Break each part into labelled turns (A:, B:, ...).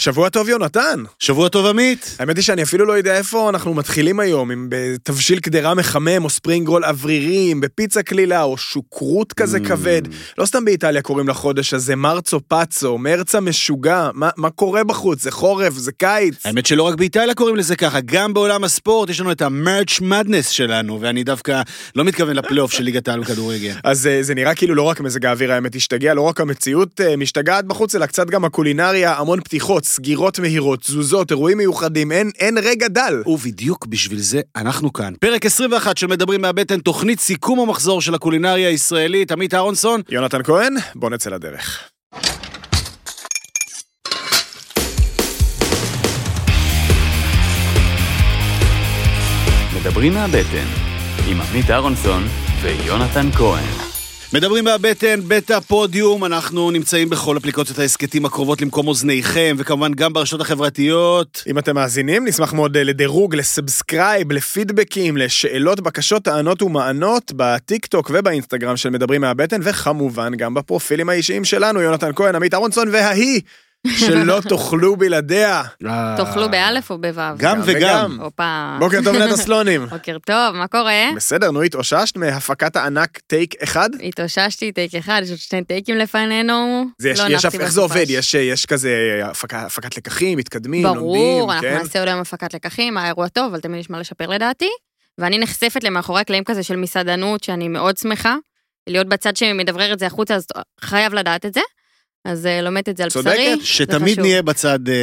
A: שבוע טוב, יונתן.
B: שבוע טוב עמית.
A: האמת היא שאני אפילו לא יודע איפה אנחנו מתחילים היום, אם בתבשיל קדרה מחמם, או ספרינג רול אוורירים, בפיצה קלילה, או שוקרות כזה
B: Mm.
A: כבד. לא סתם באיטליה קוראים לחודש הזה מרצו פאצו, מרץ המשוגע. מה- מה קורה בחוץ? זה חורף, זה קיץ.
B: האמת שלא רק באיטליה קוראים לזה ככה, גם בעולם הספורט יש לנו את המרץ' מדנס שלנו, ואני דווקא לא מתכוון לפלייאוף של ליגת העל בכדורגל.
A: אז אה, זה נראה כאילו לא רק מזג האוויר האמת השתגע, לא רק המציאות אה, משתגעת בחוץ, אלא קצת גם הקולינריה, המון פתיחות, סגירות מהירות, תזוזות, אירועים מיוחדים, אין, אין רגע דל.
B: ובדיוק בשביל זה אנחנו כאן. פרק 21 של מדברים מהבטן, תוכנית סיכום המחזור של הקולינריה הישראלית, עמית אהרונסון.
A: יונתן כהן, בוא נצא לדרך.
C: מדברים מהבטן, עם עמית אהרונסון ויונתן כהן.
B: מדברים מהבטן, בית הפודיום, אנחנו נמצאים בכל אפליקציות ההסכתים הקרובות למקום אוזניכם, וכמובן גם ברשתות החברתיות.
A: אם אתם מאזינים, נשמח מאוד אה, לדירוג, לסאבסקרייב, לפידבקים, לשאלות, בקשות, טענות ומענות, בטיקטוק ובאינסטגרם של מדברים מהבטן, וכמובן גם בפרופילים האישיים שלנו, יונתן כהן, עמית אהרונסון וההיא, שלא תאכלו בלעדיה.
D: תאכלו באלף או בוו.
B: גם וגם.
D: הופה.
A: בוקר טוב נטע סלונים.
D: בוקר טוב, מה קורה?
A: בסדר, נו, התאוששת מהפקת הענק טייק אחד?
D: התאוששתי, טייק אחד, יש עוד שני טייקים לפנינו.
A: זה יש,
D: לא
A: יש,
D: נחתי
A: איך זה
D: בסופש.
A: עובד? יש, אה, יש כזה הפקה, הפקת לקחים, מתקדמים, לומדים,
D: ברור, אנחנו
A: כן?
D: נעשה עוד היום הפקת לקחים, היה אירוע טוב, אבל תמיד יש מה לשפר לדעתי. ואני נחשפת למאחורי הקלעים כזה של מסעדנות, שאני מאוד שמחה. להיות בצד שמדברר את זה החוצה, אז חייב לדעת את זה. אז אה, לומדת את זה על
A: צודקת.
D: בשרי.
B: שתמיד
D: חשוב.
B: נהיה בצד... אה,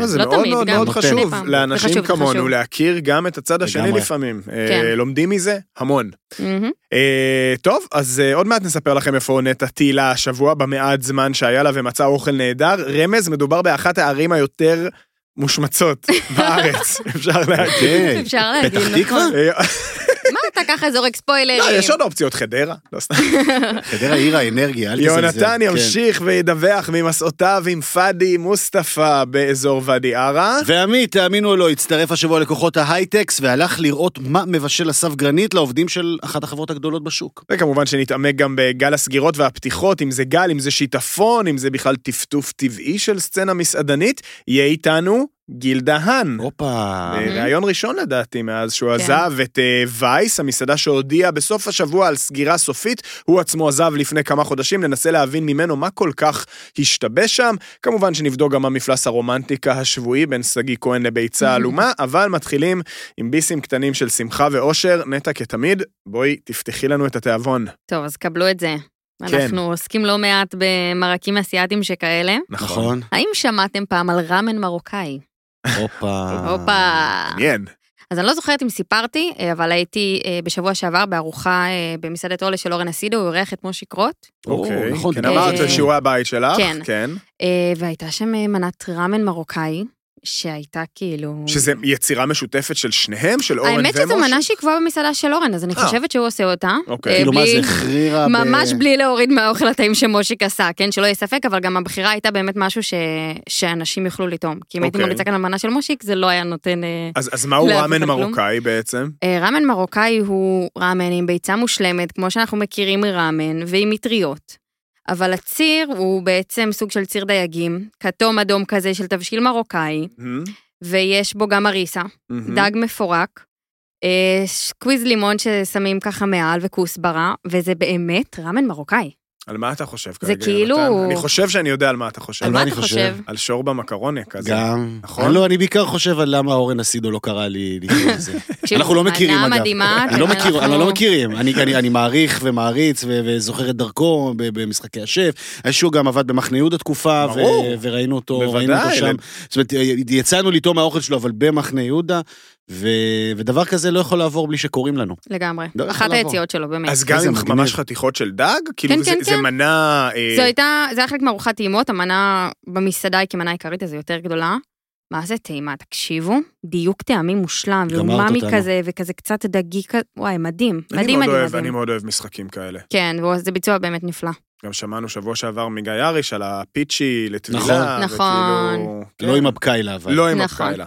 A: לא, זה
D: לא
A: מאוד
D: תמיד,
A: מאוד
D: גם
A: מאוד
B: נותן.
A: חשוב
D: פעם. זה
A: לאנשים
D: חשוב, זה
A: כמונו
D: חשוב.
A: להכיר גם את הצד השני
B: לגמרי.
A: לפעמים. אה,
D: כן.
A: לומדים מזה המון.
D: מהמם.
A: אה, טוב, אז אה, עוד מעט נספר לכם איפה נטע טילה השבוע במעט זמן שהיה לה ומצאה אוכל נהדר. רמז, מדובר באחת הערים היותר מושמצות בארץ, אפשר להגיד.
B: כן.
D: אפשר להגיד,
B: פתח
D: נכון. אה,
B: תקווה?
A: אה,
D: מה אתה ככה זורק ספוילרים?
A: לא, יש עוד אופציות, חדרה. לא סתם.
B: חדרה עיר האנרגיה, אל תזלזל.
A: יונתן
B: כן.
A: ימשיך וידווח ממסעותיו עם פאדי מוסטפא באזור ואדי ערה.
B: ועמית, תאמינו או לא, הצטרף השבוע לכוחות ההייטקס והלך לראות מה מבשל אסף גרנית לעובדים של אחת החברות הגדולות בשוק.
A: וכמובן שנתעמק גם בגל הסגירות והפתיחות, אם זה גל, אם זה שיטפון, אם זה בכלל טפטוף טבעי של סצנה מסעדנית, יהיה איתנו גיל דהן.
B: הופה.
A: אה, ראיון ראשון לדעתי מאז שהוא
D: כן.
A: עזב את אה, וייס, המסעדה שהודיעה בסוף השבוע על סגירה סופית. הוא עצמו עזב לפני כמה חודשים, ננסה להבין ממנו מה כל כך השתבש שם. כמובן שנבדוק גם מה מפלס הרומנטיקה השבועי בין שגיא כהן לביצה עלומה, אבל מתחילים עם ביסים קטנים של שמחה ואושר. נטע, כתמיד, בואי תפתחי לנו את התיאבון.
D: טוב, אז קבלו את זה.
A: כן.
D: אנחנו עוסקים לא מעט במרקים אסיאתיים שכאלה.
B: נכון.
D: האם שמעתם פעם על ראמן מרוקאי?
B: הופה.
D: הופה.
A: אה, מעניין.
D: אז אני לא זוכרת אם סיפרתי, אה, אבל הייתי אה, בשבוע שעבר בארוחה אה, במסעדת אולה של אורן אסידו, הוא אירח את מושי קרוט,
A: אוקיי.
B: או, נכון,
A: כן,
B: דיברנו
A: אמרת
B: על זה.
A: שיעורי הבית שלך.
D: כן.
A: כן.
D: אה, והייתה שם אה, מנת ראמן מרוקאי, שהייתה כאילו...
A: שזה יצירה משותפת של שניהם, של אורן ומשה?
D: האמת שזו מנה שהיא קבועה במסעדה של אורן, אז אני
A: אה.
D: חושבת שהוא עושה אותה.
A: אוקיי.
D: אה,
B: כאילו מה
D: בלי-
B: זה, חרירה ב...
D: ממש בלי להוריד מהאוכל הטעים שמושיק עשה, כן? שלא יהיה ספק, אבל גם הבחירה הייתה באמת משהו ש... שאנשים יוכלו לטעום. כי אם הייתי
A: אוקיי.
D: מריצה כאן המנה של מושיק, זה לא היה נותן... אה,
A: אז, אז מהו
D: לא, אבל
A: ראמן
D: כלום.
A: מרוקאי בעצם?
D: אה, ראמן מרוקאי הוא ראמן עם ביצה מושלמת, כמו שאנחנו מכירים מראמן, ועם מטריות. אבל הציר הוא בעצם סוג של ציר דייגים, כתום אדום כזה של תבשיל מרוקאי, ויש בו גם אריסה, דג מפורק, אה, סקוויז לימון ששמים ככה מעל וכוסברה, וזה באמת ראמן מרוקאי.
A: על מה אתה חושב כרגע?
D: זה כאילו-
A: יונתן? אני חושב שאני יודע על מה אתה חושב.
B: על
D: על
B: מה
D: מה
B: אני
D: אתה
B: חושב?
D: חושב?
A: על שור במקרונה כזה.
B: גם.
A: נכון.
B: נכון. לא, אני בעיקר חושב על למה אורן אסידו לא קרא לי לכתוב את זה.
D: תקשיבו,
B: אנחנו לא מכירים, אגב.
D: מנה מדהימה.
B: אני לא
D: ואנחנו-
B: מכיר, אני לא מכירים. אני- אני- אני מעריך ומעריץ ו- וזוכר את דרכו ב- במשחקי השף. איזשהו גם עבד במחנה יהודה תקופה, ו-
A: ברור.
B: וראינו אותו,
A: בוודאי,
B: ראינו אותו שם.
A: ל-
B: זאת אומרת, יצאנו לטעום מהאוכל שלו, אבל במחנה יהודה, ו- ודבר כזה לא יכול לעבור בלי שקוראים לנו.
D: לגמרי.
B: לא יכול
D: אחת
B: לעבור.
D: היציאות שלו, באמת.
A: אז גם
B: איזה
A: עם
B: מגניב.
A: ממש חתיכות של דג? כאילו
D: כן,
A: זה,
D: כן,
A: זה
D: כן.
A: מנה... אה,
D: זו הייתה, זה היה חלק מארוחת טעימות, המנה במסעדה היא כמנה עיקרית, אז היא יותר גדולה. מה זה טעימה? תקשיבו, דיוק טעמים מושלם,
B: גמרת
D: ואומאמי
B: אותנו.
D: כזה, וכזה קצת דגי כזה, וואי, מדהים,
A: אני
D: מדהים,
A: מאוד
D: מדהים,
A: אוהב, אני
D: מדהים.
A: מאוד אוהב משחקים כאלה.
D: כן, וזה ביצוע באמת נפלא.
A: גם שמענו שבוע שעבר מגיא אריש על הפיצ'י לטבילה. וכאילו-
B: נכון.
D: נכון.
A: כן.
B: לא עם אבקאילה, אבל.
A: לא עם
D: נכון.
A: הפקאילה.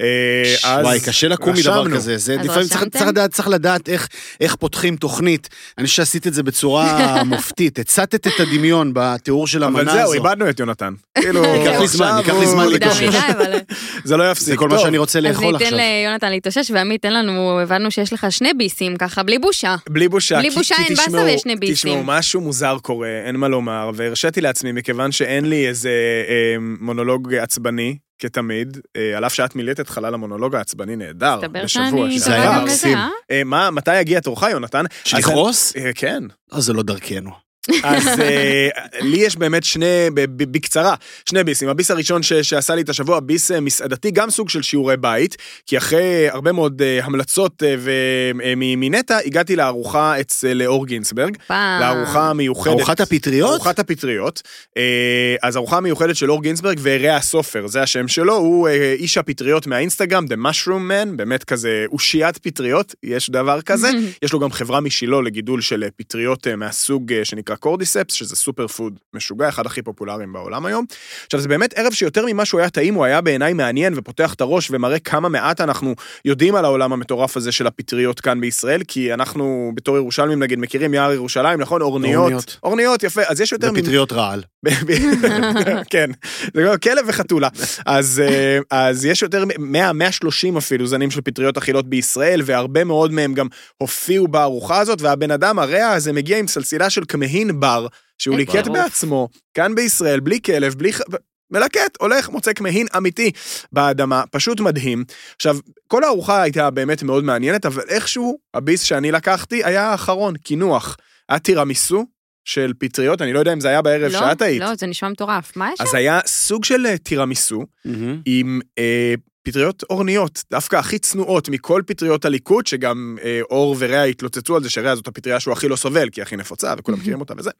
A: אה, אז
B: וואי, קשה לקום מדבר
A: רשמנו.
B: כזה. זה
D: אז
B: לפעמים צריך,
D: רשמתם?
B: צריך לדעת, צריך לדעת איך, איך פותחים תוכנית. אני חושב שעשית את זה בצורה מופתית. הצטת את הדמיון בתיאור של
A: אבל
B: המנה
A: זהו,
B: הזו.
A: איבדנו את יונתן. כאילו,
D: ייקח לי
B: זמן,
A: עכשיו
B: לא. ייקח
A: הוא-
B: לי זמן
A: הוא
D: מוקדם
B: להתאושש.
A: יתאושש.
D: מדי, אבל...
A: זה לא יפסיק.
B: זה כל מה
A: טוב,
B: שאני רוצה
D: אז
B: לאכול
D: ניתן
B: עכשיו.
D: ליונתן להתאושש, ועמית, אין לנו, הבנו שיש לך שני ביסים ככה, בלי בושה.
A: בלי בושה,
D: בלי
A: כי-
D: בושה
A: כי
D: אין באסה
A: תשמעו-
D: ויש שני ביסים.
A: תשמעו, משהו מוזר קורה, אין מה לומר, והרשיתי לעצמי, מכיוון שאין לי איזה אה, מונולוג עצבני, כתמיד, אה, על אף שאת מילאת את חלל המונולוג העצבני נהדר,
D: מסתבר
A: בשבוע
D: שאני
B: זה היה
D: טובה גם בזה,
B: מקסים.
D: אה?
A: אה, מה, מתי יגיע תורך, יונתן? אז אני-
B: שלכרוס?
A: אה, כן.
B: לא, זה לא דרכנו.
A: אז אה, לי יש באמת שני, ב- ב- בקצרה, שני ביסים. הביס הראשון ש- שעשה לי את השבוע, ביס אה, מסעדתי, גם סוג של שיעורי בית, כי אחרי הרבה מאוד אה, המלצות אה, ו- אה, מ- מנטע, הגעתי לארוחה אצל אור גינצברג,
D: פעם.
A: לארוחה המיוחדת.
B: ארוחת הפטריות?
A: ארוחת הפטריות. אה, אז ארוחה מיוחדת של אור גינצברג ורע הסופר, זה השם שלו, הוא אה, איש הפטריות מהאינסטגרם, The Mushroom Man, באמת כזה אושיית פטריות, יש דבר כזה.
D: לא,
A: יש לו גם חברה משלו לגידול של אה, פטריות אה, מהסוג אה, שנקרא קורדיספס, שזה סופר פוד משוגע, אחד הכי פופולריים בעולם היום. עכשיו, זה באמת ערב שיותר ממה שהוא היה טעים, הוא היה בעיניי מעניין ופותח את הראש ומראה כמה מעט אנחנו יודעים על העולם המטורף הזה של הפטריות כאן בישראל, כי אנחנו בתור ירושלמים נגיד מכירים יער ירושלים, נכון? אורניות.
B: אורניות.
A: אורניות, אורניות יפה. אז יש יותר... מ-
B: בפטריות רעל.
A: כן, זה גם כלב וחתולה. אז, אה, אז יש יותר מ-100-130 אפילו זנים של פטריות אכילות בישראל, והרבה מאוד מהם גם הופיעו בארוחה הזאת, והבן אדם הרע הזה מגיע עם סלסילה של כמהין בר, שהוא
D: איזה
A: ליקט
D: טירוף.
A: בעצמו, כאן בישראל, בלי כלב, בלי... ח- מלקט, הולך, מוצא כמהין אמיתי באדמה, פשוט מדהים. עכשיו, כל הארוחה הייתה באמת מאוד מעניינת, אבל איכשהו הביס שאני לקחתי היה האחרון, קינוח. היה טירמיסו של פטריות, אני לא יודע אם זה היה בערב
D: לא,
A: שאת היית.
D: לא, זה נשמע מטורף. מה יש?
A: אז היה סוג של אה, טירמיסו עם אה, פטריות אורניות, דווקא הכי צנועות מכל פטריות הליקוט, שגם אה, אור ורע התלוצצו על זה, שרע זאת הפטריה שהוא הכי לא סובל, כי היא הכי נפוצה, וכולם מכירים אותה וזה.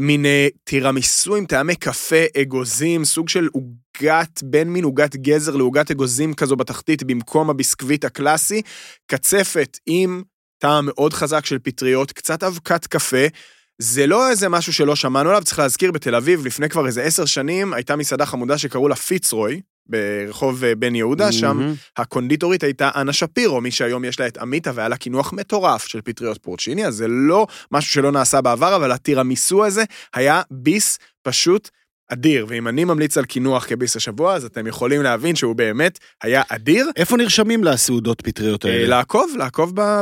A: מין אה, טירמיסו עם טעמי קפה, אגוזים, סוג של עוגת, בין מין עוגת גזר לעוגת אגוזים כזו בתחתית, במקום הביסקוויט הקלאסי, קצפת עם טעם מאוד חזק של פטריות, קצת אבקת קפה. זה לא איזה משהו שלא שמענו עליו, צריך להזכיר, בתל אביב, לפני כבר איזה עשר שנים, הייתה מסעדה חמודה שקראו לה פיצרוי, ברחוב אה, בן יהודה, שם הקונדיטורית הייתה אנה שפירו, מי שהיום יש לה את עמיתה, והיה לה קינוח מטורף של פטריות פורצ'יני, אז זה לא משהו שלא נעשה בעבר, אבל הטירמיסו הזה היה ביס פשוט אדיר. ואם אני ממליץ על קינוח כביס השבוע, אז אתם יכולים להבין שהוא באמת היה אדיר.
B: איפה נרשמים לסעודות פטריות
A: אה,
B: האלה?
A: לעקוב, לעקוב ב-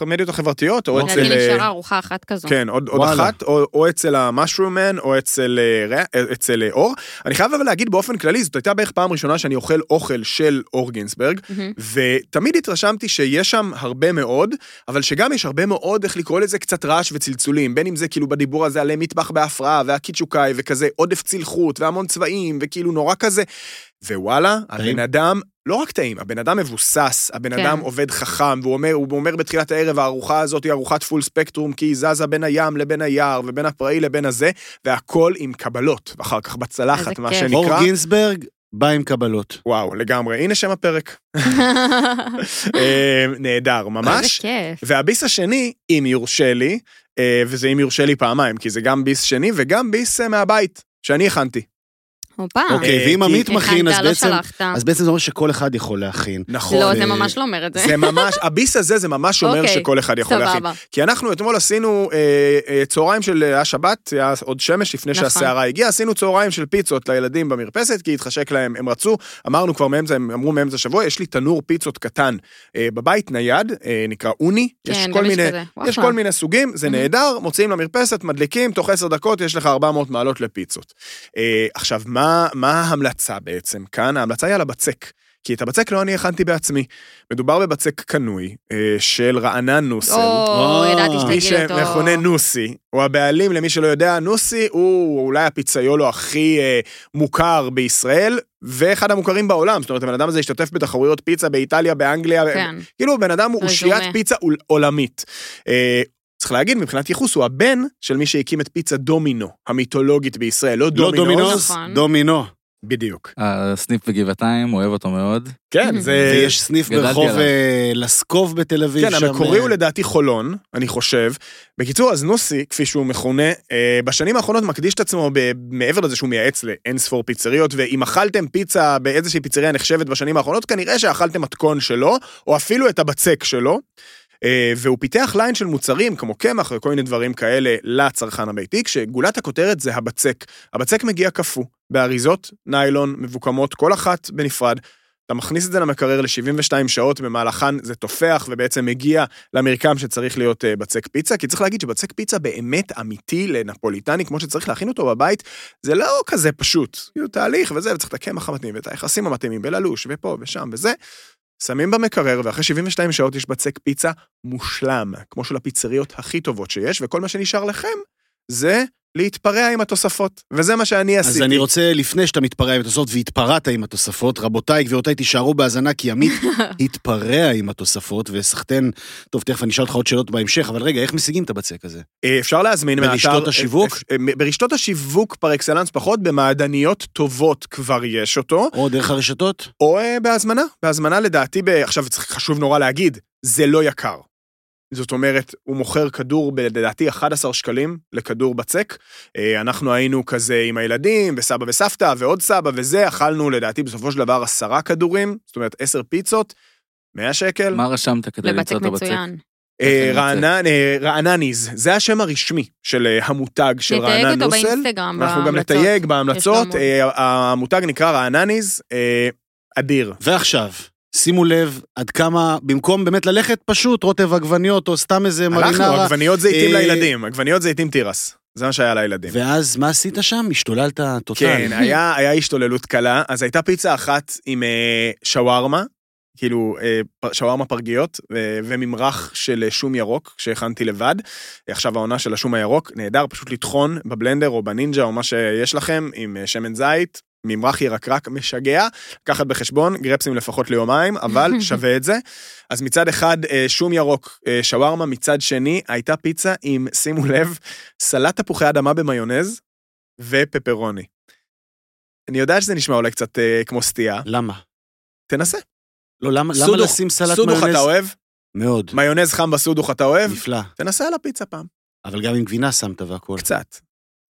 A: במדיות החברתיות, או
D: לדעתי
A: אצל... אה,
D: נשארה ארוחה אחת כזו.
A: כן, עוד, עוד
B: אוקיי. וואלה.
A: אחת, או, או אצל המשרומן, או אצל, אה, רע- אה, אצל אה, אור. אני חייב אבל להגיד באופן כללי, זאת הייתה בערך פעם ראשונה שאני אוכל אוכל של אור גינזברג,
D: מהמם.
A: ותמיד התרשמתי שיש שם הרבה מאוד, אבל שגם יש הרבה מאוד, איך לקרוא לזה, קצת רעש וצלצולים. בין אם זה כאילו בדיבור הזה עלי מטבח בהפרעה, והקיצ'וקאי, וכזה עודף צלחות, והמון צבעים, וכאילו נורא כזה. ווואלה,
B: טעים.
A: הבן אדם, לא רק טעים, הבן אדם מבוסס, הבן
D: כן.
A: אדם עובד חכם, והוא אומר, הוא אומר בתחילת הערב, הארוחה הזאת היא ארוחת פול ספקטרום, כי היא זזה בין הים לבין היער, ובין הפראי לבין הזה, והכל עם קבלות, ואחר כך בצלחת,
D: איזה
A: מה
D: כיף.
A: שנקרא.
B: אור גינזברג בא עם קבלות.
A: וואו, לגמרי, הנה שם הפרק. אה, נהדר,
D: איזה
A: ממש.
D: כיף.
A: והביס השני, אם יורשה לי, אה, וזה אם יורשה לי פעמיים, כי זה גם ביס שני וגם ביס אה, מהבית, שאני הכנתי.
D: הופה.
A: אה,
B: אוקיי, ואם
A: כי-
B: עמית מכין, אז
D: הכנת, לא
B: בעצם...
D: שלחת.
B: אז בעצם זה אומר שכל אחד יכול להכין.
A: נכון.
D: לא, זה
B: אה,
D: ממש לא אומר את זה.
A: זה ממש, הביס הזה זה ממש אומר
D: אוקיי,
A: שכל אחד יכול להכין.
D: סבבה.
A: כי אנחנו אתמול עשינו אה, אה, צהריים של, היה שבת, היה עוד שמש לפני
D: נכון.
A: שהסערה הגיעה, עשינו צהריים של פיצות לילדים במרפסת, כי התחשק להם, הם רצו, אמרנו כבר מאמצע, הם אמרו מאמצע השבוע, יש לי תנור פיצות קטן אה, בבית, נייד, אה, נקרא אוני, יש
D: כן,
A: כל
D: גם יש
A: מיני...
D: כזה.
A: יש
D: וואלה.
A: כל מיני סוגים, זה
D: Mhm.
A: נהדר, מוציאים למרפסת, מדליקים, תוך עשר דקות יש לך 400 מעלות לפיצות. אה, עכשיו, מה, מה ההמלצה בעצם כאן? ההמלצה היא על הבצק. כי את הבצק לא אני הכנתי בעצמי. מדובר בבצק קנוי אה, של רענן נוסל.
D: או,
B: אה,
D: ידעתי
A: מי
D: שתגיד אותו.
A: שמכונה נוסי, הוא הבעלים, למי שלא יודע, נוסי הוא אולי הפיציולו הכי אה, מוכר בישראל, ואחד המוכרים בעולם. זאת אומרת, הבן אדם הזה השתתף בתחרויות פיצה באיטליה, באנגליה,
D: כן.
A: כאילו, בן אדם הוא
D: רזומה.
A: אושיית פיצה עול- עולמית. אה, צריך להגיד, מבחינת ייחוס, הוא הבן של מי שהקים את פיצה דומינו, המיתולוגית בישראל, לא
B: לא
A: דומינוס.
B: דומינוס,
D: נכון.
B: דומינו.
A: בדיוק.
E: הסניף בגבעתיים, אוהב אותו מאוד.
A: כן, זה...
B: ויש סניף
E: גדלתי
B: ברחוב
E: עליו.
B: אה, לסקוב בתל אביב.
A: כן,
B: שם,
A: המקורי
B: אה,
A: הוא לדעתי חולון, אני חושב. בקיצור, אז נוסי, כפי שהוא מכונה, אה, בשנים האחרונות מקדיש את עצמו ב- מעבר לזה שהוא מייעץ לאין ספור פיצריות, ואם אכלתם פיצה באיזושהי פיצריה נחשבת בשנים האחרונות, כנראה שאכלתם מתכון שלו, או אפילו את הבצק שלו. אה, והוא פיתח ליין של מוצרים, כמו קמח וכל מיני דברים כאלה, לצרכן הביתי, כשגולת הכותרת זה הבצק. הבצק מגיע קפוא, באריזות ניילון מבוקמות, כל אחת בנפרד. אתה מכניס את זה למקרר ל-72 שעות, במהלכן זה תופח ובעצם מגיע למרקם שצריך להיות אה, בצק פיצה, כי צריך להגיד שבצק פיצה באמת אמיתי לנפוליטני, כמו שצריך להכין אותו בבית, זה לא כזה פשוט. כאילו, תהליך וזה, וצריך את הקמח המתאים ואת היחסים המתאימים בללוש ופה ושם וזה. שמים במקרר, ואחרי 72 שעות יש בצק פיצה מושלם, כמו של הפיצריות הכי טובות שיש, וכל מה שנשאר לכם זה להתפרע עם התוספות. וזה מה שאני עשיתי.
B: אז אני רוצה, לפני שאתה מתפרע עם התוספות, והתפרעת עם התוספות, רבותיי, גבירותיי, תישארו בהאזנה, כי עמית התפרע עם התוספות, וסחטיין, טוב, תכף אני אשאל אותך עוד שאלות בהמשך, אבל רגע, איך משיגים את הבצק הזה?
A: אה, אפשר להזמין מהאתר...
B: ברשתות השיווק?
A: אה, אה, ברשתות השיווק פר אקסלנס פחות, במעדניות טובות כבר יש אותו,
B: או דרך הרשתות?
A: או אה, בהזמנה. בהזמנה לדעתי, ב... עכשיו צריך- חשוב נורא להגיד, זה לא יקר. זאת אומרת, הוא מוכר כדור בלדעתי 11 שקלים לכדור בצק. אה, אנחנו היינו כזה עם הילדים, וסבא וסבתא, ועוד סבא וזה, אכלנו לדעתי בסופו של דבר עשרה כדורים, זאת אומרת עשר פיצות, 100 שקל.
E: מה רשמת כדי
D: לבצק
E: למצוא את הבצק?
D: מצוין.
A: אה,
E: איך אני רוצה?
A: רענן, אה, רענניז, זה השם הרשמי של אה, המותג של
D: נתייג
A: רענן
D: אותו
A: נוסל.
D: באינסטגרם,
A: אנחנו גם
D: בהמלצות.
A: נתייג
D: יש
A: בהמלצות,
D: לו
A: אה, המותג נקרא רענניז, אה, אדיר.
B: ועכשיו, שימו לב עד כמה, במקום באמת ללכת פשוט, רוטב עגבניות, או סתם איזה
A: הלכנו,
B: מרינרה,
A: עגבניות זיתים
B: אה,
A: לילדים, עגבניות זיתים תירס, זה מה שהיה לילדים.
B: ואז מה עשית שם? השתוללת טוטאל.
A: כן, היה היה השתוללות קלה, אז הייתה פיצה אחת עם אה, שווארמה, כאילו אה, פ- שווארמה פרגיות, ו- וממרח של אה, שום ירוק שהכנתי לבד. עכשיו העונה של השום הירוק, נהדר, פשוט לטחון בבלנדר או בנינג'ה או מה שיש לכם עם אה, שמן זית. ממרח ירקרק משגע, לקחת בחשבון, גרפסים לפחות ליומיים, אבל שווה את זה. אז מצד אחד אה, שום ירוק, אה, שווארמה, מצד שני הייתה פיצה עם, שימו לב, סלט תפוחי אדמה במיונז ופפרוני. אני יודע שזה נשמע אולי קצת אה, כמו סטייה,
B: למה?
A: תנסה.
B: לא, למה למה
A: סודוך.
B: לשים סלט
A: סודוך
B: מיונז?
A: אתה אוהב?
B: מאוד.
A: מיונז חם בסודוך אתה אוהב?
B: נפלא.
A: תנסה על הפיצה פעם.
B: אבל גם עם גבינה שמת והכל.
A: קצת.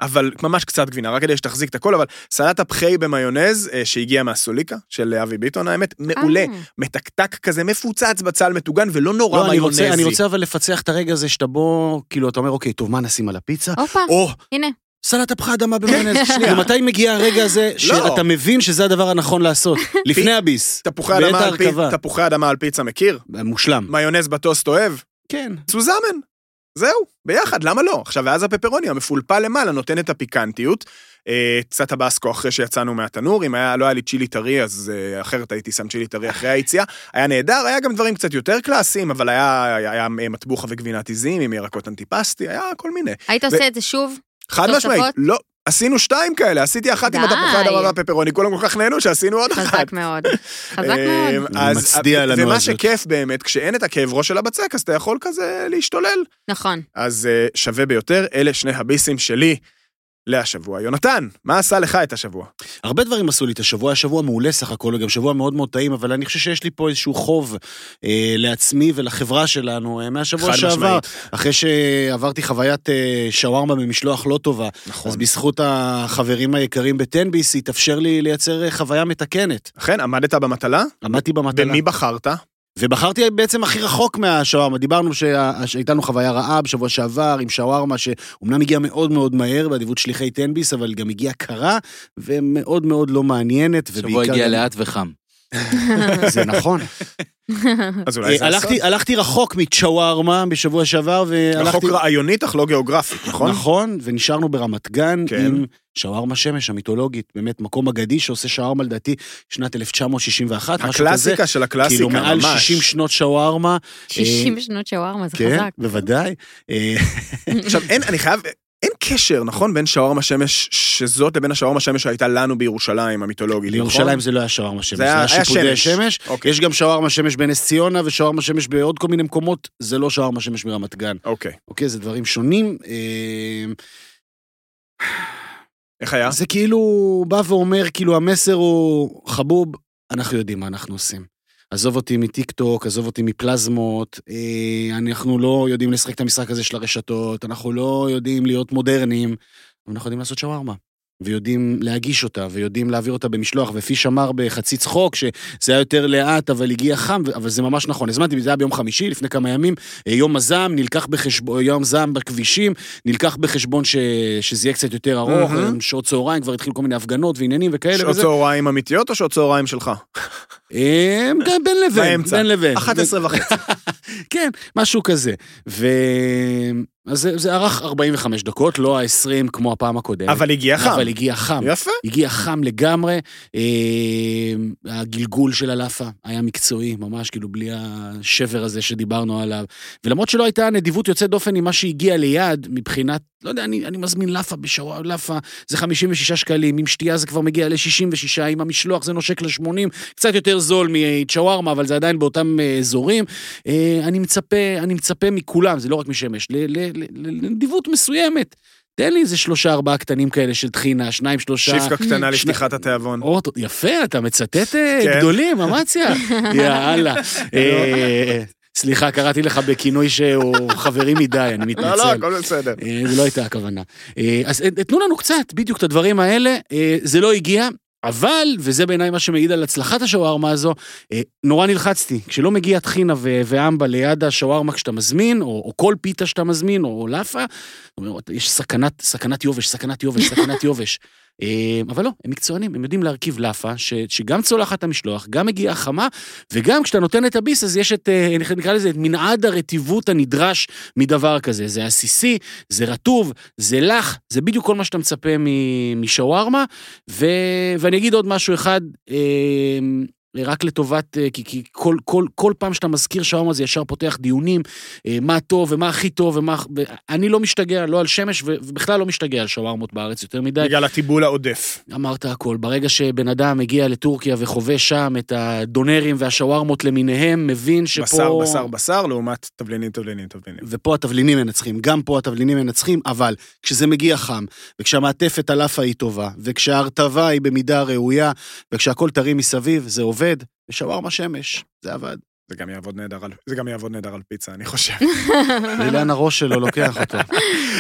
A: אבל ממש קצת גבינה, רק כדי שתחזיק את הכל, אבל סלט הפחי במיונז, אה, שהגיע מהסוליקה, של אבי ביטון האמת, מעולה,
D: אה,
A: מתקתק כזה, מפוצץ בצל מטוגן, ולא נורא
B: לא, אני
A: מיונזי.
B: רוצה, אני רוצה אבל לפצח את הרגע הזה שאתה בו, כאילו, אתה אומר, אוקיי, טוב, מה נשים על הפיצה?
D: הופה,
B: או,
D: הנה.
B: סלט תפחה אדמה במיונז.
A: שנייה. לא.
B: ומתי מגיע הרגע הזה שאתה מבין שזה הדבר הנכון לעשות? לפני הביס.
A: תפוחי
B: בעת
A: אדמה על פי-
B: ההרכבה.
A: תפוחי אדמה על פיצה מכיר?
B: מושלם.
A: מיונז בטוסט אוהב?
B: כן.
A: סוזמן. זהו, ביחד, למה לא? עכשיו, ואז הפפרוני המפולפל למעלה נותן את הפיקנטיות. אה, קצת הבאסקו אחרי שיצאנו מהתנור, אם היה, לא היה לי צ'ילי טרי, אז אה, אחרת הייתי שם צ'ילי טרי אחרי היציאה. היה נהדר, היה גם דברים קצת יותר קלאסיים, אבל היה, היה, היה אה, מטבוחה וגבינת עיזים עם ירקות אנטיפסטי, היה כל מיני.
D: היית עושה את זה שוב?
A: חד
D: תוספות?
A: משמעית, לא, עשינו שתיים כאלה, עשיתי אחת עם
D: די.
A: התפוחי אדמה והפפרוני, כולם כל כך נהנו שעשינו עוד לא אחת.
D: חזק מאוד. חזק מאוד.
A: אה, אז-
B: אני מצדיע לנו על
A: ומה
B: זאת.
A: שכיף באמת, כשאין את הכאב ראש של הבצק, אז אתה יכול כזה להשתולל.
D: נכון.
A: אז אה, שווה ביותר, אלה שני הביסים שלי להשבוע. יונתן, מה עשה לך את השבוע?
B: הרבה דברים עשו לי את השבוע, היה שבוע מעולה סך הכל, וגם שבוע מאוד מאוד טעים, אבל אני חושב שיש לי פה איזשהו חוב אה, לעצמי ולחברה שלנו אה, מהשבוע
A: חד
B: שעבר.
A: משמעית.
B: אחרי שעברתי חוויית אה, שווארמה במשלוח לא טובה,
A: נכון.
B: אז בזכות החברים היקרים בטנביס, התאפשר לי לייצר אה, חוויה מתקנת.
A: אכן, עמדת במטלה?
B: עמדתי במטלה.
A: במי בחרת?
B: ובחרתי בעצם הכי רחוק מהשווארמה. דיברנו שה- שהייתה לנו חוויה רעה בשבוע שעבר עם שווארמה, שאומנם הגיעה מאוד מאוד מהר באדיבות שליחי טנביס, אבל גם הגיעה קרה ומאוד מאוד לא מעניינת.
E: שבוע
B: ובעיקר
E: הגיע
B: גם-
E: לאט וחם.
B: זה נכון.
A: אז אולי
B: אה,
A: זה
B: הלכתי,
A: הסוד.
B: הלכתי רחוק מצ'ווארמה בשבוע שעבר,
A: רחוק
B: והלכתי...
A: רעיונית אך לא גיאוגרפית, נכון?
B: נכון, ונשארנו ברמת גן
A: כן.
B: עם שווארמה שמש המיתולוגית, באמת מקום אגדי שעושה שווארמה לדעתי שנת 1961, משהו כזה.
A: הקלאסיקה של הקלאסיקה,
B: כאילו
A: ממש.
B: מעל 60 שנות שווארמה.
A: אה,
D: 60 שנות שווארמה, זה
B: כן,
D: חזק.
B: בוודאי. אה,
A: עכשיו, אין, אני חייב... אין קשר, נכון, בין שווארמה שמש שזאת לבין השווארמה שמש שהייתה לנו בירושלים, המיתולוגית, נכון?
B: לירושלים זה לא היה שווארמה שמש,
A: זה
B: זה
A: היה-
B: היה
A: היה
B: שיפודי
A: שמש.
B: שמש.
A: אוקיי.
B: יש גם שווארמה שמש בנס ציונה ושווארמה שמש בעוד כל מיני מקומות, זה לא שווארמה שמש מרמת גן.
A: אוקיי.
B: אוקיי, זה דברים שונים. אה,
A: איך היה?
B: זה כאילו בא ואומר, כאילו המסר הוא, חבוב, אנחנו יודעים מה אנחנו עושים. עזוב אותי מטיק טוק, עזוב אותי מפלזמות, אה, אנחנו לא יודעים לשחק את המשחק הזה של הרשתות, אנחנו לא יודעים להיות מודרניים, אבל אנחנו יודעים לעשות שווארמה. ויודעים להגיש אותה, ויודעים להעביר אותה במשלוח, ופיש אמר בחצי צחוק שזה היה יותר לאט, אבל הגיע חם, ו- אבל זה ממש נכון. הזמנתי, זה היה ביום חמישי, לפני כמה ימים, אה, יום הזעם נלקח בחשבון, יום זעם בכבישים, נלקח בחשבון ש... שזה יהיה קצת יותר ארוך,
A: מהמם.
B: mm-hmm. שעות צהריים, כבר התחילו כל מיני הפגנות ועניינים וכאלה
A: שעות
B: וזה.
A: צהריים אמיתיות או שעות צהריים שלך?
B: כן, אה, גם בין לבין,
A: באמצע.
B: בין לבין.
A: 11 וחצי.
B: כן, משהו כזה. ו... אז זה, זה ארך 45 דקות, לא ה-20 כמו הפעם הקודמת.
A: אבל הגיע חם.
B: כן. אבל הגיע חם.
A: יפה.
B: הגיע חם לגמרי, אה, הגלגול של הלאפה היה מקצועי, ממש כאילו בלי השבר הזה שדיברנו עליו. ולמרות שלא הייתה נדיבות יוצאת דופן עם מה שהגיע ליד, מבחינת, לא יודע, אני, אני מזמין לאפה בשער לאפה, זה 56 שקלים, עם שתייה זה כבר מגיע ל-66, עם המשלוח זה נושק ל-80, קצת יותר זול מצ'ווארמה, אבל זה עדיין באותם אה, אזורים. אה, אני מצפה, אני מצפה מכולם, זה לא רק משמש, ל- ל- ל- לנדיבות מסוימת. תן לי איזה שלושה, ארבעה קטנים כאלה של טחינה, שניים, שלושה.
A: שיפקה קטנה
B: שני-
A: לפתיחת התיאבון.
B: אורטו, יפה, אתה מצטט אה,
A: כן. לא.
B: גדולים, אמציה. יאללה. אה, סליחה, קראתי לך בכינוי שהוא חברי מדי, אני מתנצל.
A: לא, לא, הכל בסדר.
B: אה, זו לא הייתה הכוונה. אה, אז אה, תנו לנו קצת, בדיוק את הדברים האלה. אה, זה לא הגיע, אבל, וזה בעיניי מה שמעיד על הצלחת השווארמה הזו, אה, נורא נלחצתי. כשלא מגיע טחינה ו- ואמבה ליד השווארמה כשאתה מזמין, או, או כל פיתה שאתה מזמין, או לאפה, אתה אומר, יש סכנת, סכנת יובש, סכנת יובש, סכנת יובש. אה, אבל לא, הם מקצוענים, הם יודעים להרכיב לאפה, ש- שגם צולחת המשלוח, גם מגיעה חמה, וגם כשאתה נותן את הביס, אז יש את, אה, נקרא לזה, את מנעד הרטיבות הנדרש מדבר כזה. זה עסיסי, זה רטוב, זה לח, זה בדיוק כל מה שאתה מצפה מ- משווארמה. ו... ואני אגיד עוד משהו אחד, אה, רק לטובת, אה, כי, כי כל, כל, כל פעם שאתה מזכיר שווארמה זה ישר פותח דיונים, אה, מה טוב ומה הכי טוב ומה... ו... אני לא משתגע, לא על שמש, ו- ובכלל לא משתגע על שווארמות בארץ יותר מדי.
A: בגלל הטיבול העודף.
B: אמרת הכל. ברגע שבן אדם מגיע לטורקיה וחווה שם את הדונרים והשווארמות למיניהם, מבין שפה...
A: בשר, בשר, בשר, לעומת תבלינים, תבלינים, תבלינים.
B: ופה התבלינים מנצחים, גם פה התבלינים מנצחים, אבל כשזה מגיע חם, וכשהמעטפת על אף היא טובה, וכשההרטבה היא במידה ראויה, וכשהכול טרי מסביב, זה עובד, ושווארמה שמש, זה עבד.
A: זה גם יעבוד נהדר על- זה גם יעבוד נהדר על פיצה, אני חושב.
B: לאן הראש שלו לוקח אותו.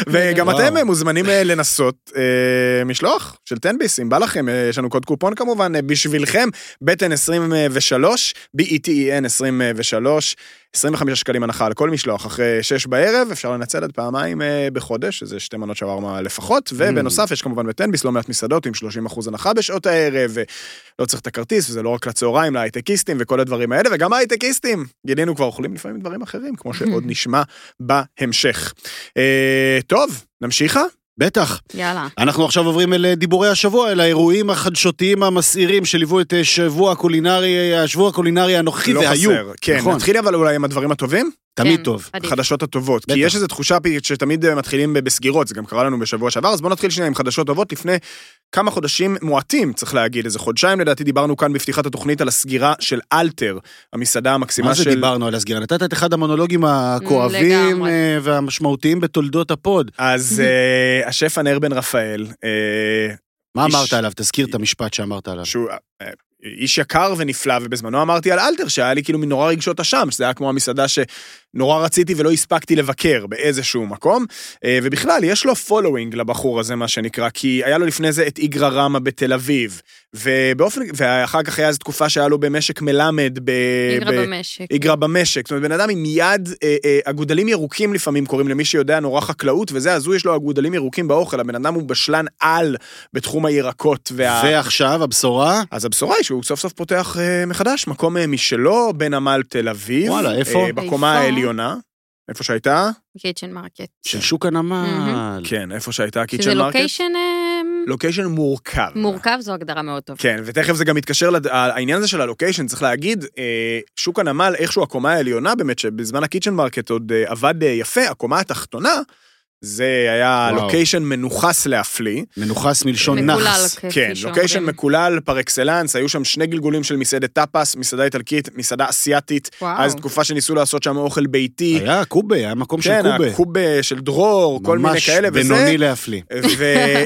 A: וגם
B: וואו.
A: אתם אה, מוזמנים אה, לנסות אה, משלוח של 10 ביס, אם בא לכם, אה, יש לנו קוד קופון כמובן, אה, בשבילכם, בטן אה, 23, B-E-T-E-N 23, 25 שקלים הנחה על כל משלוח אחרי 6 בערב, אפשר לנצל עד פעמיים אה, בחודש, שזה שתי מנות שווארמה לפחות,
B: Mm.
A: ובנוסף יש כמובן בטנביס לא מעט מסעדות עם 30 אחוז הנחה בשעות הערב, ולא צריך את הכרטיס, וזה לא רק לצהריים, להייטקיסטים וכל הדברים האלה, וגם ההייטקיסטים, גילינו כבר אוכלים לפעמים דברים אחרים, כמו שעוד נשמע בהמשך. אה, טוב, נמשיכה?
B: בטח.
D: יאללה.
B: אנחנו עכשיו עוברים אל אה, דיבורי השבוע, אל האירועים החדשותיים המסעירים שליוו את אה, שבוע הקולינרי, אה, השבוע הקולינרי הנוכחי,
A: לא
B: והיו.
A: חסר. כן,
B: נכון.
A: נתחיל אבל אולי עם הדברים הטובים,
B: תמיד
D: כן,
B: טוב.
D: עדיף.
A: החדשות הטובות. כי
B: בטח.
A: יש איזו תחושה פי- שתמיד אה, מתחילים ב- בסגירות, זה גם קרה לנו בשבוע שעבר, אז בואו נתחיל שנייה עם חדשות טובות לפני כמה חודשים מועטים, צריך להגיד, איזה חודשיים לדעתי, דיברנו כאן בפתיחת התוכנית על הסגירה של אלתר, המסעדה המקסימה
B: מה זה
A: של...
B: דיברנו על הסגירה? נתת את אחד המונולוגים הכואבים
D: לגמרי.
B: אה, והמשמעותיים בתולדות הפוד.
A: אז אה, השף הנר בן רפאל, אה,
B: מה
A: איש-
B: אמרת עליו? תזכיר את המשפט שאמרת עליו.
A: שהוא אה, איש יקר ונפלא, ובזמנו אמרתי על אלתר שהיה לי כאילו נורא רגשות אשם, שזה היה כמו המסעדה שנורא רציתי ולא הספקתי לבקר באיזשהו מקום. אה, ובכלל, יש לו פולואינג לבחור הזה, מה שנקרא, כי היה לו לפני זה את איגרא רמה בתל אביב, ובאופן, ואחר כך היה איזו תקופה שהיה לו במשק מלמד ב...
D: איגרא
A: ב-
D: במשק.
A: איגרא במשק. זאת אומרת, בן אדם עם יד, אה, אה, אגודלים ירוקים לפעמים קוראים למי שיודע נורא חקלאות, וזה, אז הוא יש לו אגודלים ירוקים באוכל, הבן אדם הוא בשלן על בתחום הירקות וה...
B: ועכשיו הבשורה,
A: אז הבשורה היא שהוא סוף סוף פותח אה, מחדש מקום אה, משלו בנמל תל אביב.
B: וואלה, איפה?
A: אה, בקומה
D: איפה?
A: העליונה. איפה שהייתה?
D: קיצ'ן מרקט.
B: של שוק הנמל.
A: כן, איפה שהייתה
D: שזה
A: קיצ'ן מרקט.
D: לוקיישן אה,
A: לוקיישן מורכב.
D: מורכב, זו הגדרה מאוד טובה.
A: כן, ותכף זה גם מתקשר, לד... העניין הזה של הלוקיישן, צריך להגיד, אה, שוק הנמל, איכשהו הקומה העליונה באמת, שבזמן הקיצ'ן מרקט עוד אה, עבד אה, יפה, הקומה התחתונה זה היה
B: וואו.
A: לוקיישן מנוכס להפליא.
B: מנוכס מלשון
D: מקולל,
B: נחס.
D: כפי
A: כן,
D: שאומרים.
A: לוקיישן מקולל פר אקסלנס, היו שם שני גלגולים של מסעדת טאפס, מסעדה איטלקית, מסעדה אסיאתית.
D: וואו.
A: אז תקופה שניסו לעשות שם אוכל ביתי.
D: אוקיי.
B: היה קובה, היה מקום של
A: כן,
B: קובה.
A: הקובה של דרור, כל מיני כאלה,
B: ממש
A: וזה...
B: בינוני להפליא.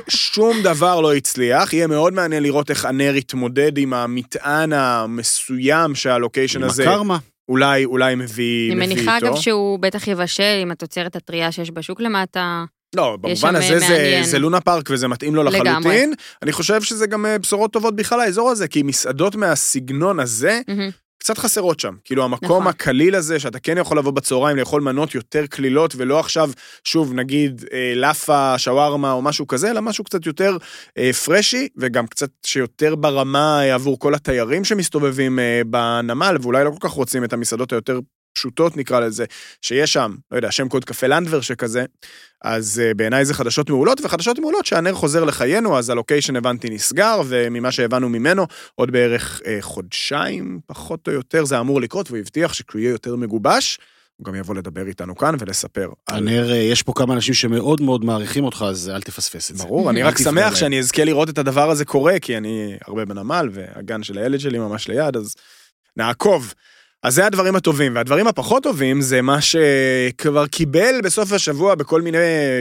A: ושום דבר לא הצליח. יהיה מאוד מעניין לראות איך הנר יתמודד עם המטען המסוים שהלוקיישן
B: עם
A: הזה
B: הקרמה.
A: אולי, אולי מביא,
D: אני
A: מביא
D: מניחה
A: איתו.
D: אגב שהוא בטח יבשל עם התוצרת הטריה שיש בשוק למטה.
A: לא,
D: יש
A: במובן
D: שם,
A: הזה
D: אה,
A: זה,
D: מעניין.
A: זה לונה פארק וזה מתאים לו לחלוטין.
D: לגמרי.
A: לגמרי. אני חושב שזה גם אה, בשורות טובות בכלל לאזור הזה, כי מסעדות מהסגנון הזה
D: מהמם.
A: קצת חסרות שם. כאילו, המקום
D: נכון.
A: הקליל הזה, שאתה כן יכול לבוא בצהריים, לאכול מנות יותר קלילות, ולא עכשיו, שוב, נגיד אה, לאפה, שווארמה או משהו כזה, אלא משהו קצת יותר אה, פרשי, וגם קצת שיותר ברמה אה, עבור כל התיירים שמסתובבים אה, בנמל, ואולי לא כל כך רוצים את המסעדות היותר פשוטות, נקרא לזה, שיש שם, לא יודע, שם קוד קפה לנדבר שכזה. אז אה, בעיניי זה חדשות מעולות, וחדשות מעולות שהנר חוזר לחיינו, אז הלוקיישן הבנתי נסגר, וממה שהבנו ממנו, עוד בערך אה, חודשיים, פחות או יותר, זה אמור לקרות, והוא הבטיח שכשהוא יהיה יותר מגובש, הוא גם יבוא לדבר איתנו כאן ולספר. על-
B: הנר, אה, יש פה כמה אנשים שמאוד מאוד מעריכים אותך, אז אל תפספס את זה.
A: ברור, אני
B: אל
A: רק
B: תפגע
A: שמח
B: להם.
A: שאני אזכה לראות את הדבר הזה קורה, כי אני הרבה בנמל, והגן של הילד שלי ממש ליד, אז נעקוב. אז זה הדברים הטובים, והדברים הפחות טובים זה מה שכבר קיבל בסוף השבוע בכל מיני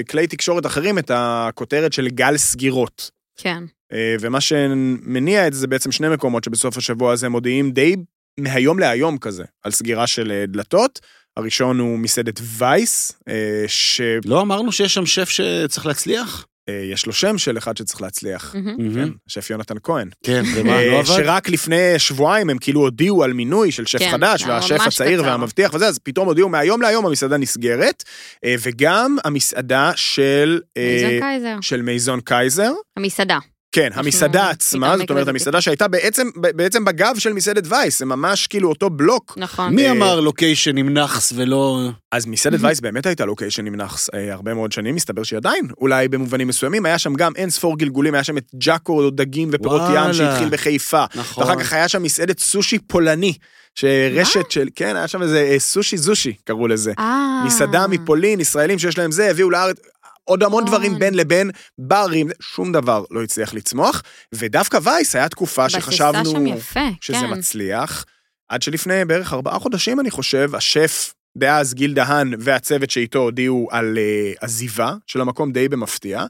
A: כלי תקשורת אחרים את הכותרת של גל סגירות.
D: כן.
A: אה, ומה שמניע את זה זה בעצם שני מקומות שבסוף השבוע הזה מודיעים די מהיום להיום כזה, על סגירה של אה, דלתות. הראשון הוא מסעדת וייס, אה, שיש
B: לא אמרנו שיש שם שף שצריך להצליח?
A: אה, לו שם של אחד שצריך להצליח.
D: מהמם.
A: כן, שף יונתן כהן.
B: כן, ומה,
A: אה,
B: לא עבד?
A: שרק לפני שבועיים הם כאילו הודיעו על מינוי של שף
D: כן,
A: חדש,
D: היה
A: והשף
D: ממש
A: הצעיר
D: קצר.
A: והמבטיח וזה, אז פתאום הודיעו מהיום להיום המסעדה נסגרת, אה, וגם המסעדה של... אה,
D: מייזון קייזר.
A: של מייזון קייזר.
D: המסעדה.
A: כן, המסעדה
D: פתאום
A: עצמה, זאת אומרת,
D: נקבל-
A: המסעדה שהייתה בעצם, ב- בעצם בגב של מסעדת וייס, זה ממש כאילו אותו בלוק.
D: נכון.
B: מי
A: אה,
B: אמר לוקיישן עם נחס ולא...
A: אז מסעדת וייס באמת הייתה לוקיישן עם נאחס אה, הרבה מאוד שנים, מסתבר שהיא עדיין, אולי במובנים מסוימים, היה שם גם אין ספור גלגולים, היה שם את ג'אקו, דגים ופירות ים
B: וואלה.
A: שהתחיל בחיפה.
B: נכון.
A: ואחר כך היה שם מסעדת סושי פולני,
B: אה.
A: שרשת של, כן, היה שם איזה אה, סושי זושי, קראו לזה.
D: אה.
A: מסעדה מפולין, ישראלים שיש להם זה, הביאו לארץ עוד המון
D: נכון.
A: דברים בין לבין, ברים, שום דבר לא הצליח לצמוח, ודווקא וייס היה תקופה
D: בסיסה
A: שחשבנו
D: שם יפה,
A: שזה
D: כן.
A: מצליח, עד שלפני בערך ארבעה חודשים, אני חושב, השף דאז גיל דהן והצוות שאיתו הודיעו על אה, עזיבה של המקום די במפתיע.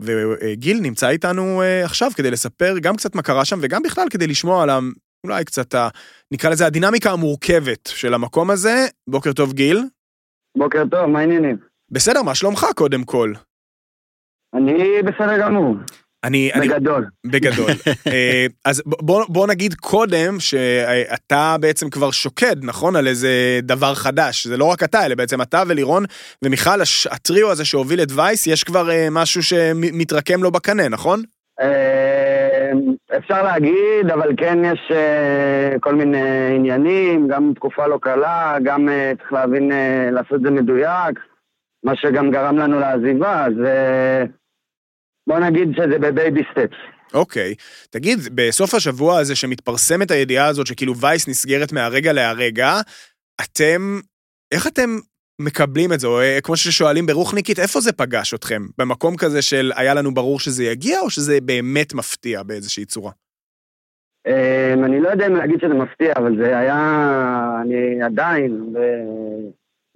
A: וגיל נמצא איתנו אה, עכשיו כדי לספר גם קצת מה קרה שם וגם בכלל כדי לשמוע על ה... אולי קצת, ה, נקרא לזה הדינמיקה המורכבת של המקום הזה. בוקר טוב, גיל.
F: בוקר טוב, מה העניינים?
A: בסדר, מה שלומך קודם כל?
F: אני בסדר גמור,
A: אני, אני,
F: בגדול.
A: בגדול. אה, אז ב- בוא, בוא נגיד קודם שאתה בעצם כבר שוקד, נכון? על איזה דבר חדש. זה לא רק אתה, אלא בעצם אתה ולירון ומיכל, הש- הטריו הזה שהוביל את וייס, יש כבר אה, משהו שמתרקם לו בקנה, נכון?
F: אה, אפשר להגיד, אבל כן יש אה, כל מיני עניינים, גם תקופה לא קלה, גם אה, צריך להבין, אה, לעשות את זה מדויק, מה שגם גרם לנו לעזיבה, אז אה, בוא נגיד שזה בבייבי סטפס.
A: אוקיי. תגיד, בסוף השבוע הזה שמתפרסמת הידיעה הזאת שכאילו וייס נסגרת מהרגע להרגע, אתם, איך אתם מקבלים את זה? או אה, כמו ששואלים ברוחניקית, איפה זה פגש אתכם? במקום כזה של היה לנו ברור שזה יגיע, או שזה באמת מפתיע באיזושהי צורה?
F: אה, אני לא יודע אם להגיד שזה מפתיע, אבל זה היה, אני עדיין אה,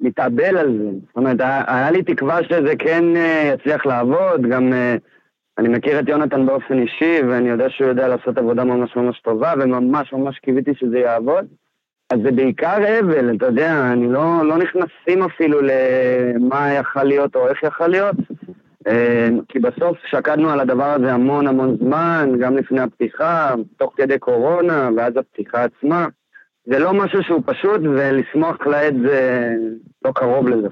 F: מתאבל על זה. זאת אומרת, היה, היה לי תקווה שזה כן אה, יצליח לעבוד, גם אה, אני מכיר את יונתן באופן אישי, ואני יודע שהוא יודע לעשות עבודה ממש ממש טובה, וממש ממש קיוויתי שזה יעבוד. אז זה בעיקר אבל, אתה יודע, אני לא, לא נכנסים אפילו למה יכל להיות או איך יכל להיות. אה, כי בסוף שקדנו על הדבר הזה המון המון זמן, גם לפני הפתיחה, תוך כדי קורונה, ואז הפתיחה עצמה. זה לא משהו שהוא פשוט, ולשמוח כעת זה לא קרוב לזה.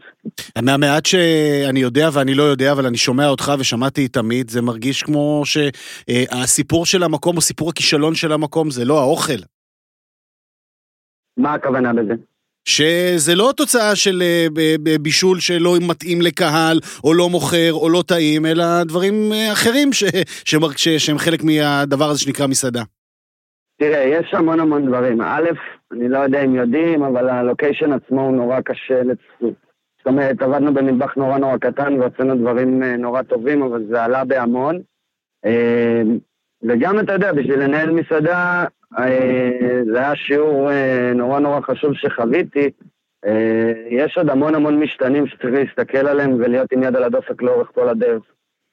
B: מהמעט שאני יודע ואני לא יודע, אבל אני שומע אותך ושמעתי את עמית, זה מרגיש כמו שהסיפור של המקום או סיפור הכישלון של המקום זה לא האוכל.
F: מה הכוונה בזה?
B: שזה לא תוצאה של אה, ב- ב- בישול שלא מתאים לקהל, או לא מוכר, או לא טעים, אלא דברים אה, אחרים ש, שמר, ש, שהם חלק מהדבר הזה שנקרא מסעדה.
F: תראה, יש המון המון דברים. א', אני לא יודע אם יודעים, אבל הלוקיישן עצמו הוא נורא קשה לצפות. זאת אומרת, עבדנו במטבח נורא נורא קטן ועשינו דברים אה, נורא טובים, אבל זה עלה בהמון. אה, וגם, אתה יודע, בשביל לנהל מסעדה, אה, זה היה שיעור אה, נורא נורא חשוב שחוויתי. אה, יש עוד המון המון משתנים שצריך להסתכל עליהם ולהיות עם יד על הדופק לאורך כל הדרך.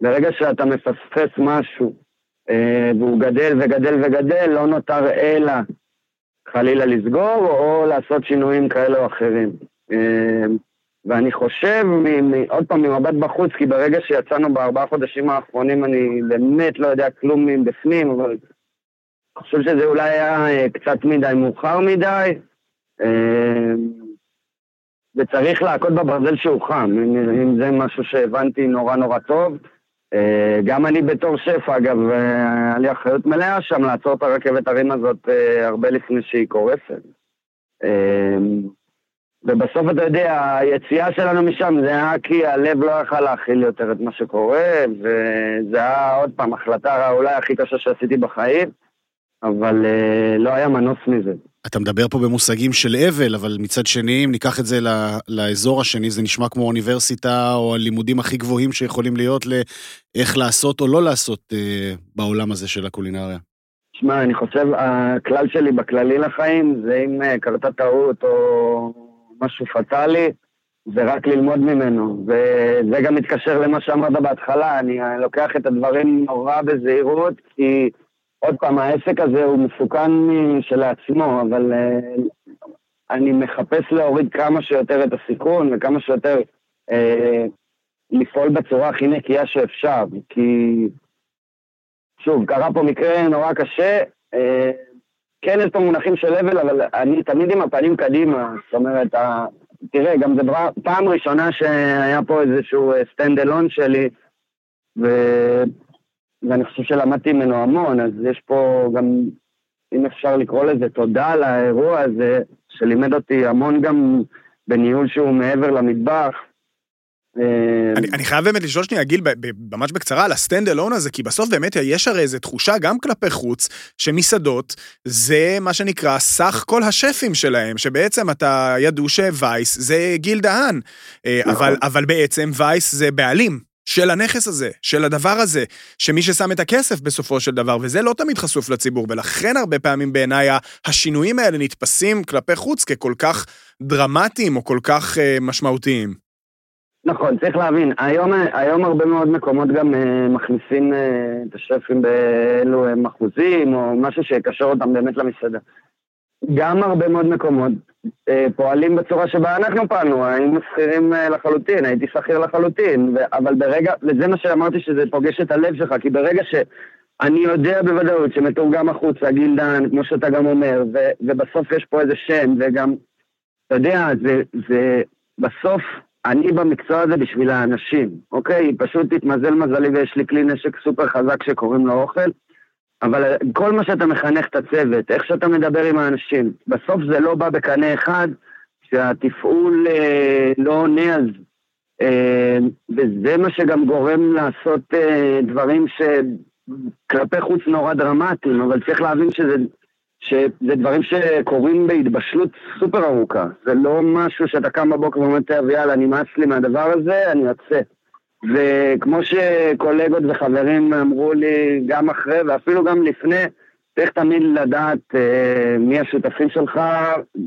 F: ברגע שאתה מפספס משהו, אה, והוא גדל וגדל וגדל, לא נותר אלא חלילה לסגור או לעשות שינויים כאלה או אחרים. אה, ואני חושב, מ- מ- עוד פעם, ממבט בחוץ, כי ברגע שיצאנו בארבעה חודשים האחרונים, אני באמת לא יודע כלום מבפנים, אבל אני חושב שזה אולי היה אה, קצת מדי מאוחר מדי, אה, וצריך להכות בברזל שהוא חם, אם, אם זה משהו שהבנתי נורא נורא טוב. אה, גם אני בתור שף, אגב, אה, היה לי אחריות מלאה שם לעצור את הרכבת הרים הזאת אה, הרבה לפני שהיא קורסת. אה, ובסוף אתה יודע, היציאה שלנו משם זה היה כי הלב לא יכל להכיל יותר את מה שקורה, וזה היה עוד פעם החלטה אולי הכי קשה שעשיתי בחיים, אבל אה, לא היה מנוס מזה.
B: אתה מדבר פה במושגים של אבל, אבל מצד שני, אם ניקח את זה ל- לאזור השני, זה נשמע כמו אוניברסיטה או הלימודים הכי גבוהים שיכולים להיות לאיך לעשות או לא לעשות אה, בעולם הזה של הקולינריה.
F: שמע, אני חושב, הכלל שלי בכללי לחיים זה אם אה, קרתה טעות או משהו פטאלי, זה רק ללמוד ממנו. וזה גם מתקשר למה שאמרת בהתחלה, אני אה, לוקח את הדברים נורא בזהירות, כי עוד פעם, העסק הזה הוא מסוכן משלעצמו, אבל אה, אני מחפש להוריד כמה שיותר את הסיכון וכמה שיותר אה, לפעול בצורה הכי נקייה שאפשר, כי... שוב, קרה פה מקרה נורא קשה. אה, כן, יש פה מונחים של אבל, אבל אני תמיד עם הפנים קדימה. זאת אומרת, ה... תראה, גם זו דבר- פעם ראשונה שהיה פה איזשהו סטנד אלון שלי, ו... ואני חושב שלמדתי ממנו המון, אז יש פה גם, אם אפשר לקרוא לזה, תודה על האירוע הזה, שלימד אותי המון גם בניהול שהוא מעבר למטבח. אה,
A: אני, אני חייב באמת לשאול שנייה, גיל, ב- ב- ממש בקצרה, על הסטנד אלון הזה, כי בסוף באמת יש הרי איזו תחושה גם כלפי חוץ, שמסעדות זה מה שנקרא סך כל השפים שלהם, שבעצם אתה ידעו שווייס זה גיל דהן, אה,
F: נכון.
A: אבל, אבל בעצם וייס זה בעלים. של הנכס הזה, של הדבר הזה, שמי ששם את הכסף בסופו של דבר, וזה לא תמיד חשוף לציבור, ולכן הרבה פעמים בעיניי ה- השינויים האלה נתפסים כלפי חוץ ככל כך דרמטיים או כל כך אה, משמעותיים.
F: נכון, צריך להבין, היום, היום הרבה מאוד מקומות גם אה, מכניסים אה, את השפים באלו הם אחוזים, או משהו שיקשר אותם באמת למסעדה. גם הרבה מאוד מקומות אה, פועלים בצורה שבה אנחנו פעלנו, היינו שכירים אה, לחלוטין, הייתי שכיר לחלוטין, ו- אבל ברגע, וזה מה שאמרתי שזה פוגש את הלב שלך, כי ברגע שאני יודע בוודאות שמתורגם החוצה, גילדן, כמו שאתה גם אומר, ו- ובסוף יש פה איזה שם, וגם, אתה יודע, זה, זה בסוף, אני במקצוע הזה בשביל האנשים, אוקיי? פשוט התמזל מזלי ויש לי כלי נשק סופר חזק שקוראים לו אוכל, אבל כל מה שאתה מחנך את הצוות, איך שאתה מדבר עם האנשים, בסוף זה לא בא בקנה אחד, שהתפעול אה, לא עונה על זה. אה, וזה מה שגם גורם לעשות אה, דברים שכלפי חוץ נורא דרמטיים, אבל צריך להבין שזה, שזה דברים שקורים בהתבשלות סופר ארוכה. זה לא משהו שאתה קם בבוקר ואומר, "טוב, יאללה, נמאס לי מהדבר הזה, אני יוצא. וכמו שקולגות וחברים אמרו לי גם אחרי ואפילו גם לפני, צריך תמיד לדעת אה, מי השותפים שלך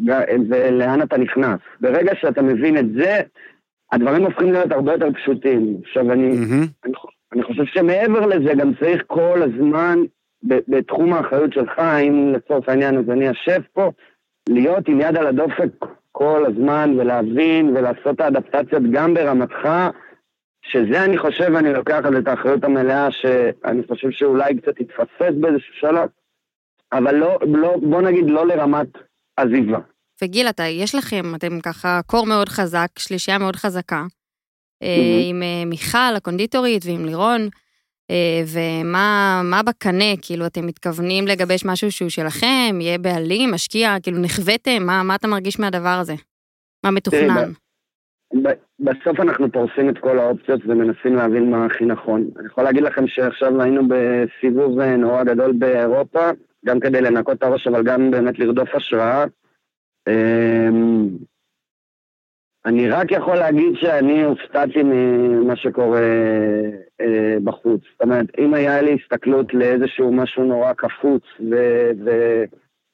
F: ג- ולאן אתה נכנס. ברגע שאתה מבין את זה, הדברים הופכים להיות הרבה יותר פשוטים. עכשיו,
A: Mm-hmm.
F: אני,
B: מהמם.
F: אני חו- אני חושב שמעבר לזה גם צריך כל הזמן, ב- בתחום האחריות שלך, אם לצורך העניין אז אני אשב פה, להיות עם יד על הדופק כל הזמן ולהבין ולעשות את האדפטציות גם ברמתך, שזה אני חושב, אני לוקח על זה את האחריות המלאה, שאני חושב שאולי קצת התפספס באיזשהו שלב, אבל לא, לא, בוא נגיד לא לרמת עזיבה.
D: וגיל, אתה, יש לכם, אתם ככה קור מאוד חזק, שלישייה מאוד חזקה. אה,
F: Mhm.
D: עם אה, מיכל, הקונדיטורית, ועם לירון. אה, ומה מה בקנה, כאילו, אתם מתכוונים לגבש משהו שהוא שלכם, יהיה בעלים, משקיע, כאילו, נחוויתם, מה, מה אתה מרגיש מהדבר הזה? מה מתוכנן?
F: ב- בסוף אנחנו פורסים את כל האופציות ומנסים להבין מה הכי נכון. אני יכול להגיד לכם שעכשיו היינו בסיבוב אה, נורא גדול באירופה, גם כדי לנקות את הראש, אבל גם באמת לרדוף השראה. אמ, אני רק יכול להגיד שאני הופתעתי ממה שקורה אה, בחוץ. זאת אומרת, אם היה לי הסתכלות לאיזשהו משהו נורא קפוץ ו-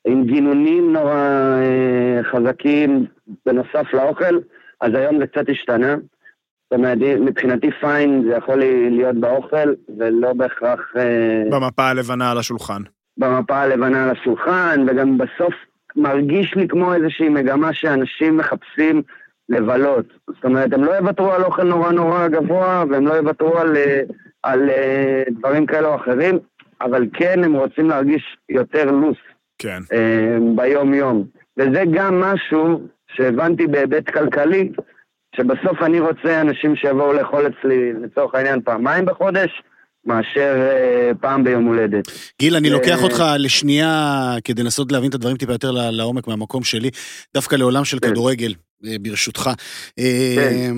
F: ועם גינונים נורא אה, חזקים בנוסף לאוכל, אז היום זה קצת השתנה. זאת אומרת, מבחינתי פיין זה יכול להיות באוכל ולא בהכרח... אה,
A: במפה הלבנה על השולחן.
F: במפה הלבנה על השולחן, וגם בסוף מרגיש לי כמו איזושהי מגמה שאנשים מחפשים לבלות. זאת אומרת, הם לא יוותרו על אוכל נורא נורא גבוה, והם לא יוותרו על, אה, על אה, דברים כאלה או אחרים, אבל כן הם רוצים להרגיש יותר לוס
A: כן.
F: אה, ביום-יום. וזה גם משהו שהבנתי בהיבט כלכלי, שבסוף אני רוצה אנשים שיבואו לאכול אצלי, לצורך העניין, פעמיים בחודש, מאשר אה, פעם ביום הולדת.
B: גיל, אני
F: אה,
B: לוקח אותך לשנייה כדי לנסות להבין את הדברים טיפה יותר ל- לעומק מהמקום שלי, דווקא לעולם של
F: כן.
B: כדורגל, אה, ברשותך. אה,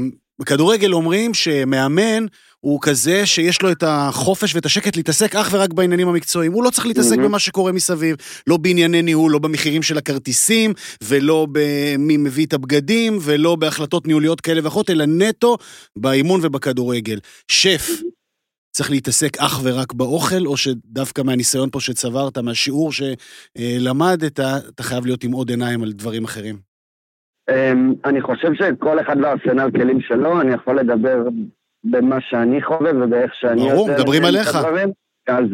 B: בכדורגל אומרים שמאמן הוא כזה שיש לו את החופש ואת השקט להתעסק אך ורק בעניינים המקצועיים. הוא לא צריך להתעסק
F: מהמם.
B: במה שקורה מסביב, לא בענייני ניהול, לא במחירים של הכרטיסים, ולא במי מביא את הבגדים, ולא בהחלטות ניהוליות כאלה ואחרות, אלא נטו באימון ובכדורגל. שף, צריך להתעסק אך ורק באוכל, או שדווקא מהניסיון פה שצברת, מהשיעור שלמדת, אתה חייב להיות עם עוד עיניים על דברים אחרים.
F: אמ, אני חושב שכל אחד והארסנל כלים שלו, אני יכול לדבר במה שאני חווה ובאיך שאני
B: ברור, מדברים
F: את
B: עליך.
F: הדברים, אז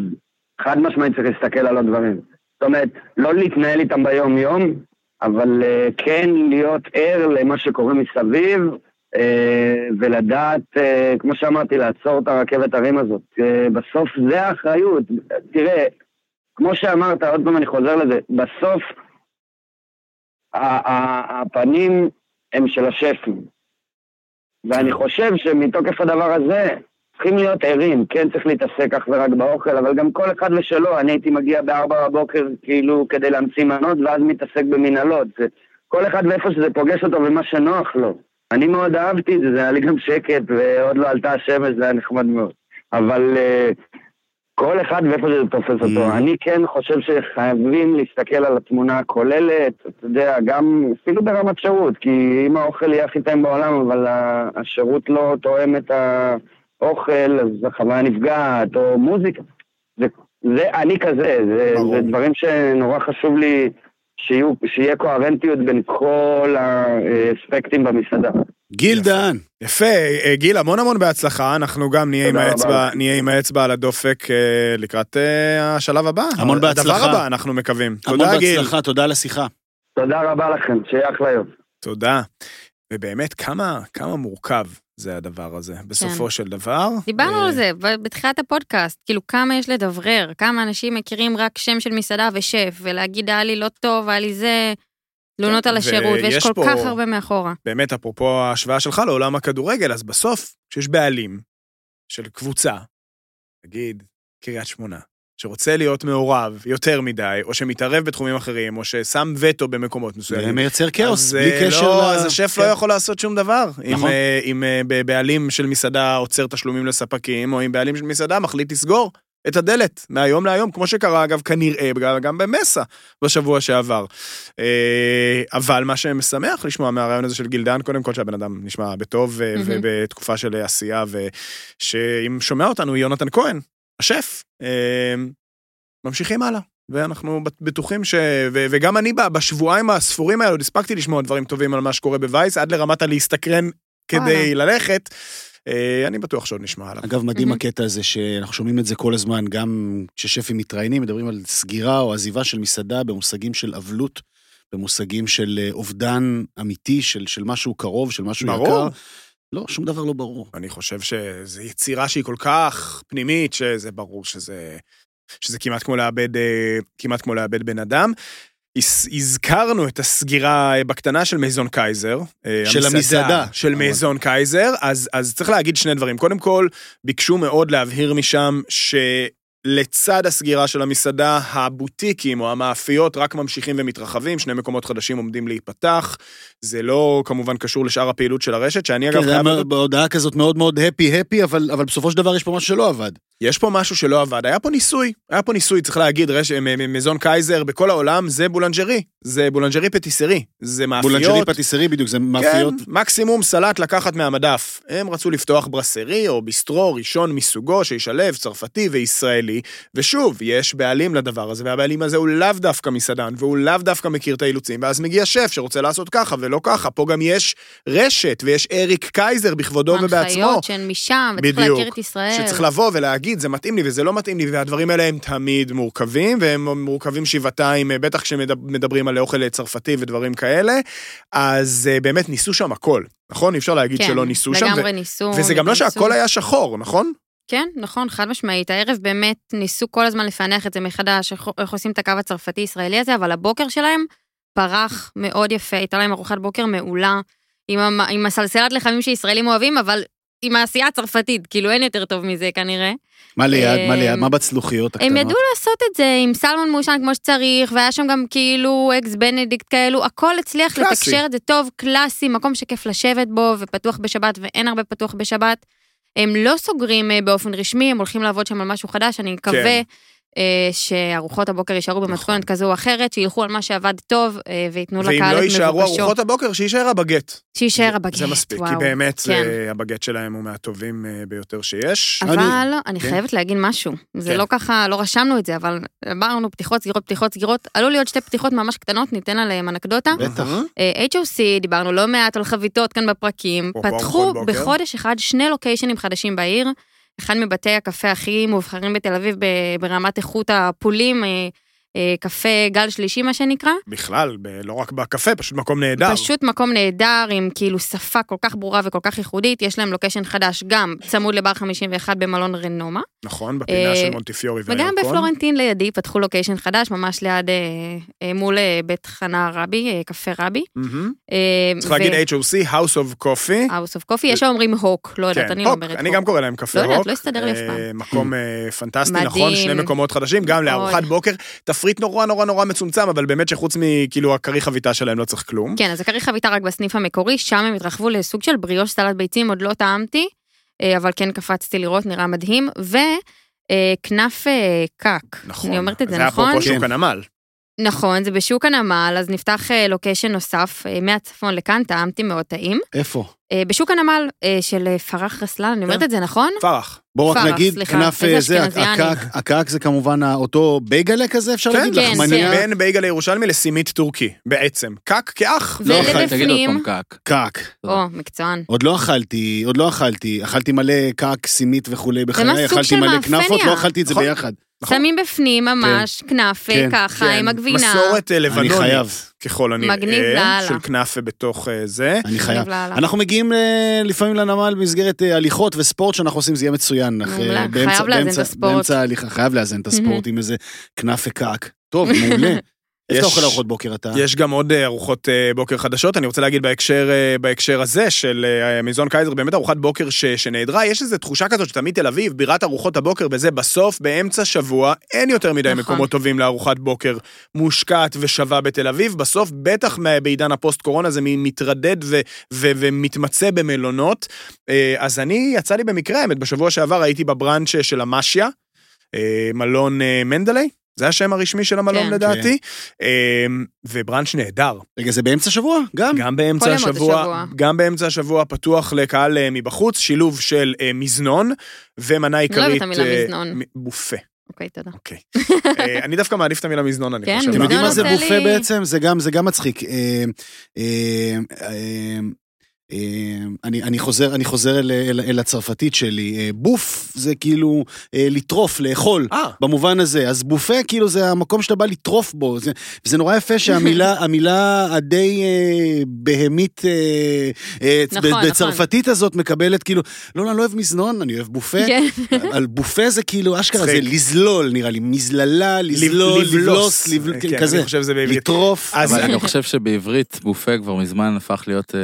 F: חד משמעית צריך להסתכל על הדברים. זאת אומרת, לא להתנהל איתם ביום-יום, אבל אה, כן להיות ער למה שקורה מסביב, אה, ולדעת, אה, כמו שאמרתי, לעצור את הרכבת הרים הזאת. אה, בסוף זה האחריות. תראה, כמו שאמרת, עוד פעם אני חוזר לזה, בסוף ה- ה- הפנים הם של השפים. ואני חושב שמתוקף הדבר הזה, צריכים להיות ערים, כן צריך להתעסק אך ורק באוכל, אבל גם כל אחד ושלו, אני הייתי מגיע בארבע בבוקר כאילו כדי להמציא מנות, ואז מתעסק במנהלות. זה- כל אחד ואיפה שזה פוגש אותו ומה שנוח לו. אני מאוד אהבתי את זה, זה היה לי גם שקט, ועוד לא עלתה השמש, זה היה נחמד מאוד. אבל אה, כל אחד ואיפה שזה תופס אותו.
B: Mm.
F: אני כן חושב שחייבים להסתכל על התמונה הכוללת, אתה יודע, גם אפילו ברמת שירות, כי אם האוכל יהיה הכי טעים בעולם, אבל ה- השירות לא תואם את האוכל, אז החוויה נפגעת, או מוזיקה. זה, זה אני כזה, זה,
A: ברור.
F: זה דברים שנורא חשוב לי שיהיו, שיהיה קוהרנטיות בין כל האספקטים במסעדה.
B: גיל דהן,
A: יפה, אה, גיל, המון המון בהצלחה, אנחנו גם נהיה עם,
F: תודה
A: האצבע,
F: רבה.
A: נהיה עם האצבע על הדופק אה, לקראת אה, השלב הבא.
B: המון
A: הדבר
B: בהצלחה.
A: הבא, אנחנו מקווים.
B: המון
A: תודה, גיל.
B: בהצלחה, תודה על השיחה.
F: תודה רבה לכם, שיהיה אחלה יום.
A: תודה. ובאמת, כמה, כמה מורכב זה הדבר הזה, בסופו של דבר.
D: כן. דיברנו
A: אה,
D: על זה ב- בתחילת הפודקאסט, כאילו כמה יש לדברר, כמה אנשים מכירים רק שם של מסעדה ושף, ולהגיד היה לי לא טוב, היה לי זה, תלונות
A: כן,
D: על השירות,
A: ויש
D: ויש כל
A: פה-
D: כך הרבה מאחורה.
A: באמת, אפרופו ההשוואה שלך לעולם הכדורגל, אז בסוף, כשיש בעלים של קבוצה, נגיד קריית שמונה, שרוצה להיות מעורב יותר מדי, או שמתערב בתחומים אחרים, או ששם וטו במקומות
B: זה
A: מסוימים.
B: מייצר כאוס,
A: אז,
B: בלי
A: אה,
B: קשר
A: לא,
B: ל-
A: אז השף
B: כן.
A: לא יכול לעשות שום דבר. אם,
B: נכון.
A: אה, אם אה, ב- בעלים של מסעדה עוצר תשלומים לספקים, או אם בעלים של מסעדה מחליט לסגור את הדלת מהיום להיום, כמו שקרה אגב כנראה גם- גם במסה בשבוע שעבר. אה, אבל מה שמשמח לשמוע מהרעיון הזה של גילדן, קודם כל שהבן אדם נשמע בטוב ו-
D: מהמם.
A: ובתקופה של עשייה, ושאם שומע אותנו יונתן כהן, השף, אה, ממשיכים הלאה. ואנחנו בטוחים ש... ו- וגם אני ב- בשבועיים הספורים האלו עוד הספקתי לשמוע דברים טובים על מה שקורה בווייס, עד לרמת הלהסתקרן כדי ללכת. אה, אני בטוח שעוד נשמע עליו.
B: אגב, מדהים
D: מהמם.
B: הקטע הזה שאנחנו שומעים את זה כל הזמן, גם כששפים מתראיינים, מדברים על סגירה או עזיבה של מסעדה במושגים של אבלות, במושגים של אה, אובדן אמיתי, של, של משהו קרוב, של משהו
A: ברור.
B: יקר. לא, שום דבר לא ברור.
A: אני חושב שזו יצירה שהיא כל כך פנימית, שזה ברור שזה, שזה כמעט כמו לאבד, אה, כמעט כמו לאבד בן אדם. הז- הזכרנו את הסגירה אה, בקטנה של מייזון קייזר. אה,
B: של המסעדה. נכון.
A: של
B: אבל-
A: מייזון קייזר, אז, אז צריך להגיד שני דברים. קודם כל, ביקשו מאוד להבהיר משם ש... לצד הסגירה של המסעדה, הבוטיקים או המאפיות רק ממשיכים ומתרחבים, שני מקומות חדשים עומדים להיפתח. זה לא כמובן קשור לשאר הפעילות של הרשת, שאני אגב
B: כן, זה היה
A: חייב...
B: מאוד- בהודעה כזאת מאוד מאוד הפי הפי, אבל אבל בסופו של דבר יש פה משהו שלא עבד.
A: יש פה משהו שלא עבד, היה פה ניסוי, היה פה ניסוי, צריך להגיד, רש... מ- מ- מזון קייזר בכל העולם זה בולנג'רי, זה בולנג'רי פטיסרי, זה מאפיות.
B: בולנג'רי פטיסרי בדיוק, זה מאפיות.
A: כן, מקסימום סלט לקחת מהמדף. הם רצו לפתוח ברסרי או ביסטרו ראשון מסוגו שישלב צרפתי וישראלי, ושוב, יש בעלים לדבר הזה, והבעלים הזה הוא לאו דווקא מסעדן, והוא לאו דווקא מכיר את האילוצים, ואז מגיע שף שרוצה לעשות ככה ולא ככה, פה גם יש רשת, ויש אריק קייזר בכבודו לא ובעצמו.
D: הנחיות שהן משם, וצריך להכיר
A: בדיוק.
D: את ישראל.
A: שצריך לבוא ולהגיד, זה מתאים לי וזה לא מתאים לי, והדברים האלה הם תמיד מורכבים, והם מורכבים שבעתיים, אה, בטח כשמדברים על אוכל אה, צרפתי ודברים כאלה. אז אה, באמת ניסו שם הכל, נכון? אי אפשר להגיד
D: כן,
A: שלא ניסו שם.
D: לגמרי ניסו.
A: וזה גם לא
D: ניסו.
A: שהכל היה שחור, נכון?
D: כן, נכון, חד משמעית. הערב באמת ניסו כל הזמן לפענח את זה מחדש, איך, איך עושים את הקו הצרפתי-ישראלי הזה, אבל הבוקר שלהם פרח מאוד יפה, הייתה להם ארוחת בוקר מעולה, עם, המ, עם הסלסלת לחמים שישראלים אוהבים, אבל עם העשייה הצרפתית, כאילו אין יותר טוב מזה כנראה.
B: מה ליד, מה ליד,
D: הם-
B: מה בצלוחיות הקטנות?
D: אה, הם ידעו לעשות את זה עם סלמון מעושן כמו שצריך, והיה שם גם כאילו אקס בנדיקט כאלו, הכל הצליח
A: קלאסי.
D: לתקשר את זה טוב, קלאסי, מקום שכיף לשבת בו, ופתוח בשבת, ואין הרבה פתוח בשבת. הם לא סוגרים אה, באופן רשמי, הם הולכים לעבוד שם על משהו חדש, אני מקווה
A: כן. נכון.
D: אה, שארוחות הבוקר יישארו במתכונת כזו או אחרת, שילכו על מה שעבד טוב, אה, וייתנו לקהל את
A: ואם
D: מבוקשו.
A: לא יישארו ארוחות הבוקר, שיישאר הבגט.
D: שיישאר
A: זה-
D: הבגט,
A: זה מספיק,
D: וואו.
A: כי באמת
D: כן.
A: זה- הבגט שלהם הוא מהטובים אה, ביותר שיש.
D: אבל לא, אני
A: כן.
D: חייבת להגיד משהו, זה
A: כן.
D: לא ככה, לא רשמנו את זה, אבל אמרנו פתיחות, סגירות, פתיחות, סגירות, עלו לי עוד שתי פתיחות ממש קטנות, ניתן עליהן אנקדוטה.
B: בטח.
D: אה, HOC, דיברנו לא מעט על חביתות כאן בפרקים,
A: אפרופו
D: פתחו
A: ארוחות בוקר.
D: בחודש אחד שני לוקיישנים חדשים בעיר, אחד מבתי הקפה הכי מאובחרים בתל אביב ב- ברמת איכות הפולים, אה, אה, קפה גל שלישי מה שנקרא.
A: בכלל, ב- לא רק בקפה, פשוט מקום נהדר.
D: פשוט מקום נהדר, עם כאילו שפה כל כך ברורה וכל כך ייחודית, יש להם לוקיישן חדש גם צמוד לבר 51 במלון רנומה.
A: נכון, בפינה של
D: אה,
A: מונטיפיורי והירקון.
D: וגם בפלורנטין לידי פתחו לוקיישן חדש, ממש ליד, אה, אה, מול אה, בית חנה רבי, אה, קפה רבי.
A: מהמם.
D: אה,
A: צריך להגיד HOC, House of Coffee.
D: House of Coffee, יש האומרים הוק, לא יודעת, אני לא
A: כן, הוק,
D: אה, אומרת
A: אני גם קורא להם קפה
D: לא יודעת,
A: הוק.
D: לא הסתדר לי אף פעם.
A: אה, מקום אה, פנטסטי,
D: מדהים.
A: נכון? שני מקומות חדשים, גם לארוחת
D: מאוד.
A: בוקר. תפריט נורא נורא נורא מצומצם, אבל באמת שחוץ מכאילו הכרי חביתה שלהם לא צריך כלום.
D: כן, אז הכריך חביתה רק בסניף המקורי, שם הם התרחבו לסוג של בריאוש סלט ביצים, עוד לא טעמתי, אה, אבל כן קפצתי לראות, נראה מדהים, אה, וכנף קק.
A: נכון.
D: אני אומרת את זה,
A: זה
D: נכון?
A: אפרופו שוק
B: כן.
A: הנמל.
D: נכון, זה בשוק הנמל, אז נפתח אה, לוקיישן נוסף, אה, מהצפון לכאן, טעמתי מאוד טעים.
B: איפה?
D: אה, בשוק הנמל אה, של אה, פרח רסלן, אני
A: כן.
D: אומרת את זה נכון?
A: פרח.
B: בואו רק
D: פרח,
B: נגיד,
D: סליחה,
B: כנף
D: איזה
B: אה, זה,
D: אשכנזי אני.
B: הקק- הקק זה כמובן אותו בייגלה כזה, אפשר
A: כן,
B: להגיד?
D: כן,
B: לחמניה,
D: זה-
A: בין בייגל הירושלמי לסימית טורקי, בעצם. קק כאח.
E: לא
D: ולבפנים-
E: אכלתי, תגיד עוד פעם קק.
B: קק.
D: או, מקצוען.
B: עוד לא אכלתי, עוד לא אכלתי, אכלתי מלא קק, סימית וכולי
D: ממש
B: בחיי,
D: סוג
B: אה, אכלתי
D: של
B: מלא
D: מאפניה.
B: כנפות, לא אכלתי את זה
A: נכון.
B: ביחד.
A: נכון.
D: שמים בפנים ממש כנף אה,
B: כן,
D: ככה, עם
A: כן,
D: הגבינה.
A: מסורת אה,
B: אני
A: לבנונית,
B: חייב,
A: ככל
D: מגניב
A: הנראה,
D: לאללה.
A: של כנאפה בתוך אה, זה.
B: אני חייב.
D: מגניב לאללה.
B: אנחנו מגיעים אה, לפעמים לנמל במסגרת אה, הליכות וספורט שאנחנו עושים, זה יהיה מצוין. אך, אה,
D: מעולה, חייב
B: באמצע-
D: לאזן את
B: באמצע-
D: הספורט.
B: באמצע ההליכה, חייב לאזן את הספורט עם איזה כנף וקק. טוב, מעולה. איפה
A: יש-
B: אתה אוכל ארוחות בוקר אתה?
A: יש גם עוד אה, ארוחות אה, בוקר חדשות, אני רוצה להגיד בהקשר, אה, בהקשר הזה של אה, מזון קייזר, באמת ארוחת בוקר ש, שנעדרה, יש איזו תחושה כזאת שתמיד תל אביב, בירת ארוחות הבוקר וזה, בסוף, באמצע שבוע, אין יותר מדי
D: נכון.
A: מקומות טובים לארוחת בוקר מושקעת ושווה בתל אביב, בסוף, בטח מה- בעידן הפוסט-קורונה זה מ- מתרדד ו, ו, ומתמצא במלונות. אה, אז אני, יצא לי במקרה, האמת, בשבוע שעבר הייתי בבראנץ' של המשיה, אה, מלון אה, מנדלי. זה השם הרשמי של המלון
D: כן.
A: לדעתי, אה, ובראנץ' נהדר,
B: רגע, זה באמצע שבוע? גם?
A: גם באמצע
D: כל ימות
A: השבוע,
D: השבוע.
A: גם באמצע השבוע פתוח לקהל אה, מבחוץ, שילוב של אה, מזנון ומנה
D: לא אוהבת
A: עיקרית...
D: את המילה
A: אה,
D: מזנון.
A: מ- בופה.
D: אוקיי, תודה.
A: אה, אני דווקא מעדיף את המילה מזנון, אני
D: כן,
A: חושב.
B: אתם
D: מזנון
B: יודעים מה זה
D: עושה
B: בופה
D: לי-
B: בעצם? זה גם, זה גם מצחיק. אה, אה, אה, אה, אני, אני חוזר, אני חוזר אל, אל, אל הצרפתית שלי. אה, בוף זה כאילו אה, לטרוף, לאכול.
A: אה,
B: במובן הזה, אז בופה כאילו זה המקום שאתה בא לטרוף בו, זה, וזה נורא יפה שהמילה המילה הדי אה, בהמית אה, אה,
D: נכון, נכון.
B: בצרפתית הזאת מקבלת כאילו, לא, אני לא אוהב מזנון, אני אוהב בופה,
D: כן.
B: על בופה זה כאילו, אשכרה זה
A: מצחיק.
B: לזלול נראה לי, מזללה, לזלול, לבלוס, לבל-
A: אה,
B: כן,
A: כן,
B: כזה,
A: אני חושב שזה בעברית.
B: לטרוף.
A: אז
E: אבל
A: אני-
E: אני חושב שבעברית בופה כבר מזמן הפך להיות אה,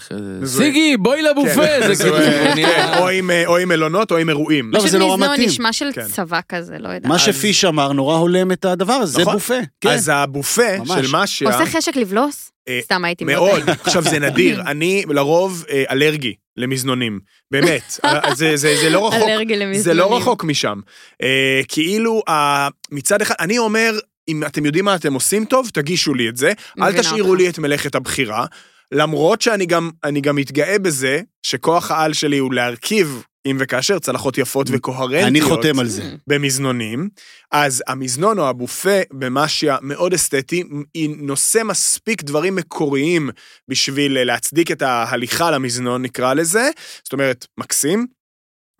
E: אחרי זה,
A: זה-
E: סיגי, בואי
B: אה,
E: לבופה! זה
A: כן,
E: כאילו
A: כן,
E: נהיה...
A: או עם, אה, או עם מלונות או עם אירועים.
B: לא, אבל זה נורא
D: פשוט מזנון
B: מתאים.
D: נשמע של
A: כן.
D: צבא כזה, לא יודעת.
B: מה שפיש אמר נורא הולם את הדבר הזה, זה
A: נכון.
B: בופה. כן.
A: אז הבופה
B: ממש.
A: של משיה,
D: עושה חשק לבלוס?
A: אה,
D: סתם הייתי
A: מאוד, עכשיו זה נדיר, אני לרוב אה, אלרגי למזנונים, באמת, אה, זה- זה זה לא רחוק
D: אלרגי למזנונים.
A: זה לא רחוק משם. אה, כאילו, ה- מצד אחד, אני אומר, אם אתם יודעים מה אתם עושים טוב, תגישו לי את זה. אל
D: מבינה
A: תשאירו
D: אותך.
A: לי את מלאכת הבחירה. למרות שאני גם, אני גם מתגאה בזה שכוח העל שלי הוא להרכיב, אם וכאשר, צלחות יפות וקוהרנטיות.
B: אני חותם על זה.
D: Mm.
A: במזנונים, אז המזנון או הבופה במשיה מאוד אסתטי, היא נושא מספיק דברים מקוריים בשביל אה, להצדיק את ההליכה למזנון, נקרא לזה. זאת אומרת, מקסים.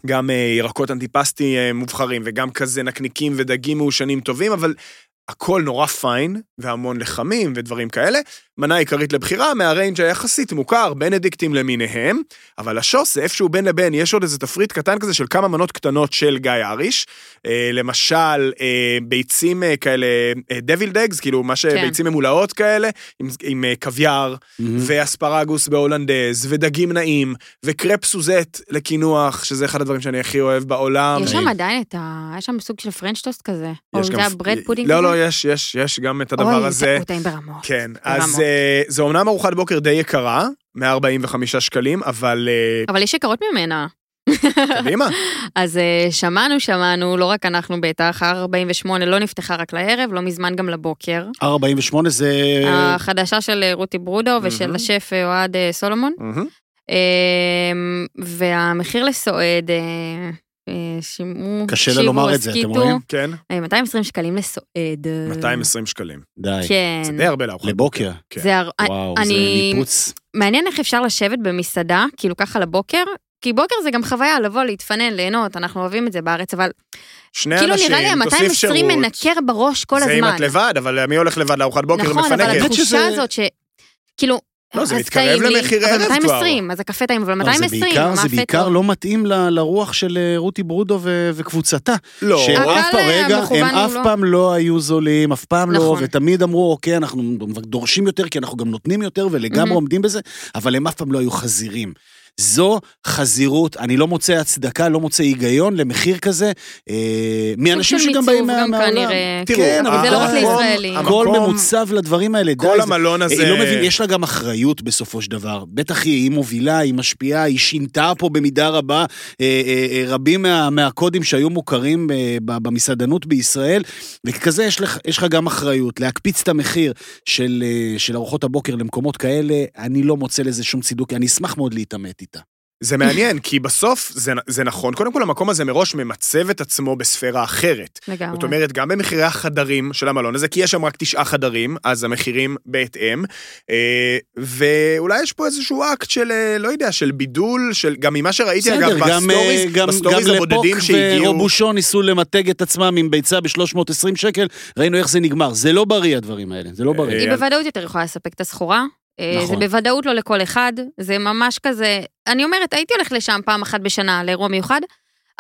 A: גם אה, ירקות אנטיפסטי אה, מובחרים, וגם כזה נקניקים ודגים מעושנים טובים, אבל הכל נורא פיין, והמון לחמים ודברים כאלה. מנה עיקרית לבחירה מהריינג' היחסית מוכר, בנדיקטים למיניהם, אבל השוס זה איפשהו בין לבין, יש עוד איזה תפריט קטן כזה של כמה מנות קטנות של גיא אריש. אה, למשל, אה, ביצים אה, כאלה, דביל דגס, כאילו מה
D: כן.
A: שביצים ממולאות כאלה, עם, עם אה, קוויאר,
D: Mm.
A: ואספרגוס בהולנדז, ודגים נעים, וקרפ סוזט לקינוח, שזה אחד הדברים שאני הכי אוהב בעולם.
D: יש שם עדיין את ה... יש שם סוג של פרנצ'טוסט כזה. או
A: אה, יש
D: זה
A: גם-
D: הברד פודינג
A: לא,
D: כזה?
A: לא, יש, יש, יש גם את
D: אוי,
A: הדבר
D: זה-
A: הזה.
D: הוא טעים ברמות.
A: כן,
D: ברמות.
A: אז אה, זו אמנם ארוחת בוקר די יקרה, 145 שקלים, אבל אה,
D: אבל יש יקרות ממנה.
A: קדימה.
D: אז אה, שמענו, שמענו, לא רק אנחנו בטח, ה-48 לא נפתחה רק לערב, לא מזמן גם לבוקר.
B: 48 זה...
D: החדשה של אה, רותי ברודו ושל
A: מהמם.
D: השף אה, אוהד אה, סולומון.
A: מהמם.
D: אמ, והמחיר לסועד, אה, אה, שימו,
B: קשה לה
D: שימו,
B: לומר את זה, אתם
D: הסכיתו,
B: רואים?
A: כן,
D: אה, 220 שקלים לסועד.
A: 220 שקלים.
B: די.
D: אה, כן.
A: זה די הרבה לארוחת.
B: לבוקר.
A: כן.
D: זה הר-
B: וואו, זה
D: אני-
B: ניפוץ.
D: מעניין איך אפשר לשבת במסעדה, כאילו ככה לבוקר, כי בוקר זה גם חוויה, לבוא, להתפנן, ליהנות, אנחנו אוהבים את זה בארץ, אבל
A: שני
D: כאילו
A: אנשים,
D: נראה לי
A: תוסיף שירות.
D: ה-220 מנקר בראש כל
A: זה אם
D: הזמן.
A: את לבד, אבל אה, מי הולך לבד לארוחת בוקר
D: נכון, אבל
A: ומפנקת?
B: האמת
D: התחושה
B: שזה-
D: הזאת ש... כאילו,
A: לא, זה
D: אז
A: מתקרב
D: טעים לי,
A: למחיר ערב
D: אבל
A: כבר.
D: 220, אז הקפה טעים,
A: לא,
D: אבל
B: אבל לא, זה
D: 220,
B: בעיקר-
D: המאפה
B: זה בעיקר
D: טוב.
B: לא מתאים ל- לרוח של אה, רותי ברודו ו- וקבוצתה.
A: לא,
B: שהם
D: הקהל
B: אף פעם, רגע,
D: המכוון
B: הם
D: הוא
B: אף
D: לא-
B: פעם לא היו זולים, אף פעם לא,
D: נכון.
B: ותמיד אמרו, אוקיי, אנחנו דורשים יותר, כי אנחנו גם נותנים יותר,
D: מהמם.
B: ולגמרי עומדים בזה, אבל הם אף פעם לא היו חזירים. זו חזירות, אני לא מוצא הצדקה, לא מוצא היגיון למחיר כזה, אה, מאנשים
D: של
B: שגם
D: מיצוב
B: באים
D: גם
B: מה- מהעולם.
D: כנראה.
A: תראו, אה,
B: כן,
D: אבל זה לא
B: גם-
D: רק לישראלים.
B: הכל
A: המקום-
B: ממוצב לדברים האלה, די.
A: כל
B: זה-
A: המלון הזה...
B: היא לא מבין, יש לה גם אחריות בסופו של דבר. בטח היא, היא מובילה, היא משפיעה, היא שינתה פה במידה רבה אה, אה, אה, רבים מה, מהקודים שהיו מוכרים אה, ב- במסעדנות בישראל, וככזה יש לך, יש לך גם אחריות. להקפיץ את המחיר של, אה, של ארוחות הבוקר למקומות כאלה, אני לא מוצא לזה שום צידוק, אני אשמח מאוד להתעמת איתה.
A: זה מעניין, כי בסוף זה, זה נכון. קודם כל, המקום הזה מראש ממצב את עצמו בספירה אחרת.
D: לגמרי.
A: זאת אומרת, גם במחירי החדרים של המלון הזה, כי יש שם רק תשעה חדרים, אז המחירים בהתאם. אה, ואולי יש פה איזשהו אקט של, אה, לא יודע, של בידול, של, גם ממה שראיתי, אגב,
B: בסדר, גם,
A: בסטוריז,
B: אה, גם, גם
A: בסטוריז
B: לפוק
A: הבודדים שהגיעו...
B: ורובושון ניסו למתג את עצמם עם ביצה ב-320 שקל, ראינו איך זה נגמר. זה לא בריא הדברים האלה, זה לא בריא.
D: היא
A: אה,
D: בוודאות יותר יכולה לספק את הסחורה. אה,
B: נכון.
D: זה בוודאות לא לכל אחד, זה ממש כזה... אני אומרת, הייתי הולך לשם פעם אחת בשנה לאירוע מיוחד,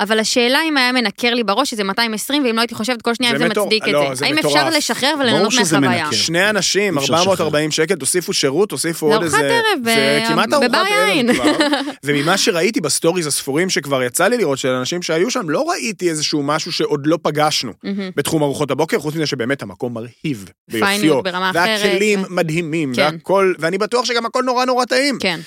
D: אבל השאלה אם היה מנקר לי בראש שזה 220, ואם לא הייתי חושבת כל שנייה
A: זה
D: אם זה
A: מטור-
D: מצדיק את
A: לא,
D: זה.
A: זה
D: האם
A: מטורף.
D: אפשר לשחרר וליהנות
B: ברור שזה
D: מהחוויה?
B: מנקר.
A: שני אנשים,
B: כן. אי אפשר
A: 440 שקל, תוסיפו שירות, תוסיפו
D: זה
A: עוד איזה...
D: ארוחת ערב,
A: זה
D: אה,
A: כמעט
D: בבר
A: ארוחת ערב
D: יין.
A: כבר. וממה שראיתי בסטוריז הספורים שכבר יצא לי לראות של אנשים שהיו שם, לא ראיתי איזשהו משהו שעוד לא פגשנו.
D: מהמם.
A: בתחום ארוחות הבוקר, חוץ מזה שבאמת המקום מרהיב ביופיו.
D: פייניות ברמה אחרת.
A: והכלים מדהימים,
D: כן.
A: והכל, ואני בטוח שגם הכל נורא נורא טעים.
D: כן.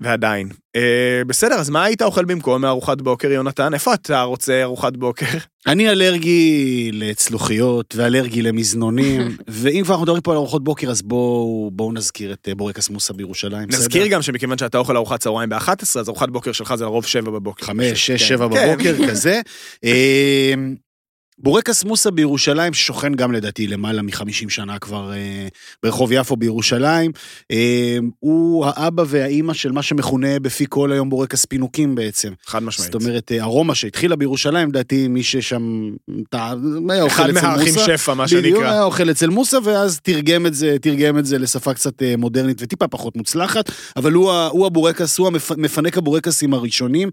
A: ועדיין. אה, בסדר, אז מה היית אוכל במקום מארוחת בוקר, יונתן? איפה אתה רוצה ארוחת בוקר?
B: אני אלרגי לצלוחיות ואלרגי למזנונים, ואם כבר אנחנו מדברים פה על ארוחות בוקר, אז בואו בואו נזכיר את אה, בורקס מוסה בירושלים.
A: נזכיר גם שמכיוון שאתה אוכל ארוחת צהריים ב-11, אז ארוחת בוקר שלך זה לרוב 7 בבוקר.
B: חמש, שש,
A: כן.
B: שבע
A: כן.
B: בבוקר, כזה. אה, בורקס מוסה בירושלים, ששוכן גם לדעתי למעלה מ-50 שנה כבר אה, ברחוב יפו בירושלים, אה, הוא האבא והאימא של מה שמכונה בפי כל היום בורקס פינוקים בעצם.
A: חד
B: זאת
A: משמעית.
B: אומרת, אה, ארומה שהתחילה בירושלים, לדעתי מי ששם טעה, היה אוכל
A: אחד
B: אצל מוסה.
A: מהאחים שפע, מה
B: בדיוק, היה
A: שנקרא.
B: אוכל אצל מוסה, ואז תרגם את זה, תרגם את זה לשפה קצת אה, מודרנית וטיפה פחות מוצלחת, אבל הוא, ה- הוא הבורקס, הוא המפנק הבורקסים הראשונים.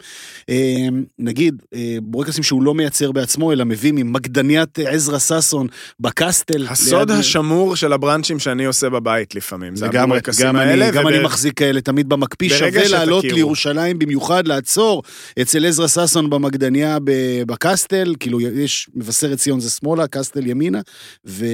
B: אה, נגיד, אה, בורקסים שהוא לא מייצר בעצמו, אלא מביא מגדניית עזרא ששון בקסטל.
A: הסוד
B: ליד-
A: השמור של הברנצ'ים שאני עושה בבית לפעמים. זה
B: לגמרי,
A: המורקסים
B: גם,
A: האלה,
B: אני, גם
A: וב-
B: אני מחזיק כאלה תמיד במקפיא,
A: ברגע
B: שווה
A: שתכירו.
B: לעלות לירושלים במיוחד, לעצור אצל עזרא ששון במגדניה ב- בקסטל, כאילו יש, מבשרת ציון זה שמאלה, קסטל ימינה, ו,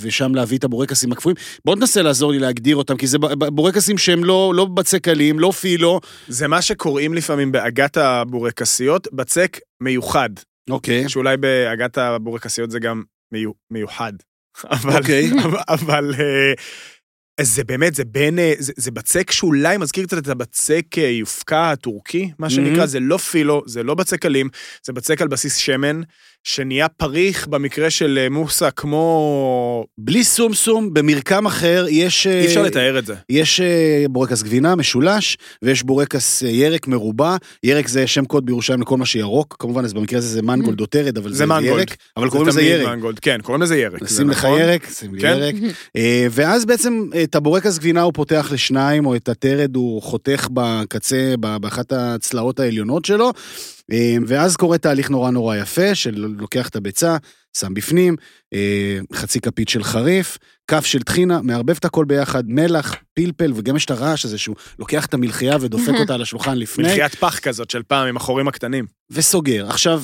B: ושם להביא את הבורקסים הקפואים. בוא תנסה לעזור לי להגדיר אותם, כי זה ב- ב- בורקסים שהם לא, לא בצקלים, לא פילו.
A: זה מה שקוראים לפעמים בעגת הבורקסיות, בצק מיוחד.
B: אוקיי.
A: שאולי בעגת הבורקסיות זה גם מיו- מיוחד. אבל,
B: אוקיי.
A: אבל, אבל אה, זה באמת, זה בין, אה, זה, זה בצק שאולי מזכיר קצת את הבצק אה, יופקה הטורקי, מה שנקרא,
B: מהמם.
A: זה לא פילו, זה לא בצק אלים, זה בצק על בסיס שמן, שנהיה פריך במקרה של אה, מוסה כמו...
B: בלי סומסום, במרקם אחר, יש... אה,
A: אי אפשר לתאר את זה.
B: יש אה, בורקס גבינה משולש, ויש בורקס אה, ירק מרובע. ירק זה שם קוד בירושלים לכל מה שירוק, כמובן, אז במקרה הזה זה מנגולד או טרד, אבל
A: Mm. זה
B: זה
A: מנגולד.
B: ירק. אבל קוראים לזה
A: תמיד
B: ירק.
A: מנגולד, כן, קוראים לזה ירק. זה
B: שים לך
A: נכון.
B: ירק, שים לי
A: כן.
B: ירק. אה, ואז בעצם אה, את הבורקס גבינה הוא פותח לשניים, או את הטרד הוא חותך בקצה, ב- באחת הצלעות העליונות שלו. אה, ואז קורה תהליך נורא נורא יפה, של לוקח את הביצה, שם בפנים, אה, חצי כפית של חריף, כף של טחינה, מערבב את הכל ביחד, מלח, פלפל, וגם יש את הרעש הזה שהוא לוקח את המלחייה ודופק אותה על השולחן לפני.
A: מלחיית פח כזאת של פעם עם החורים הקטנים.
B: וסוגר. עכשיו,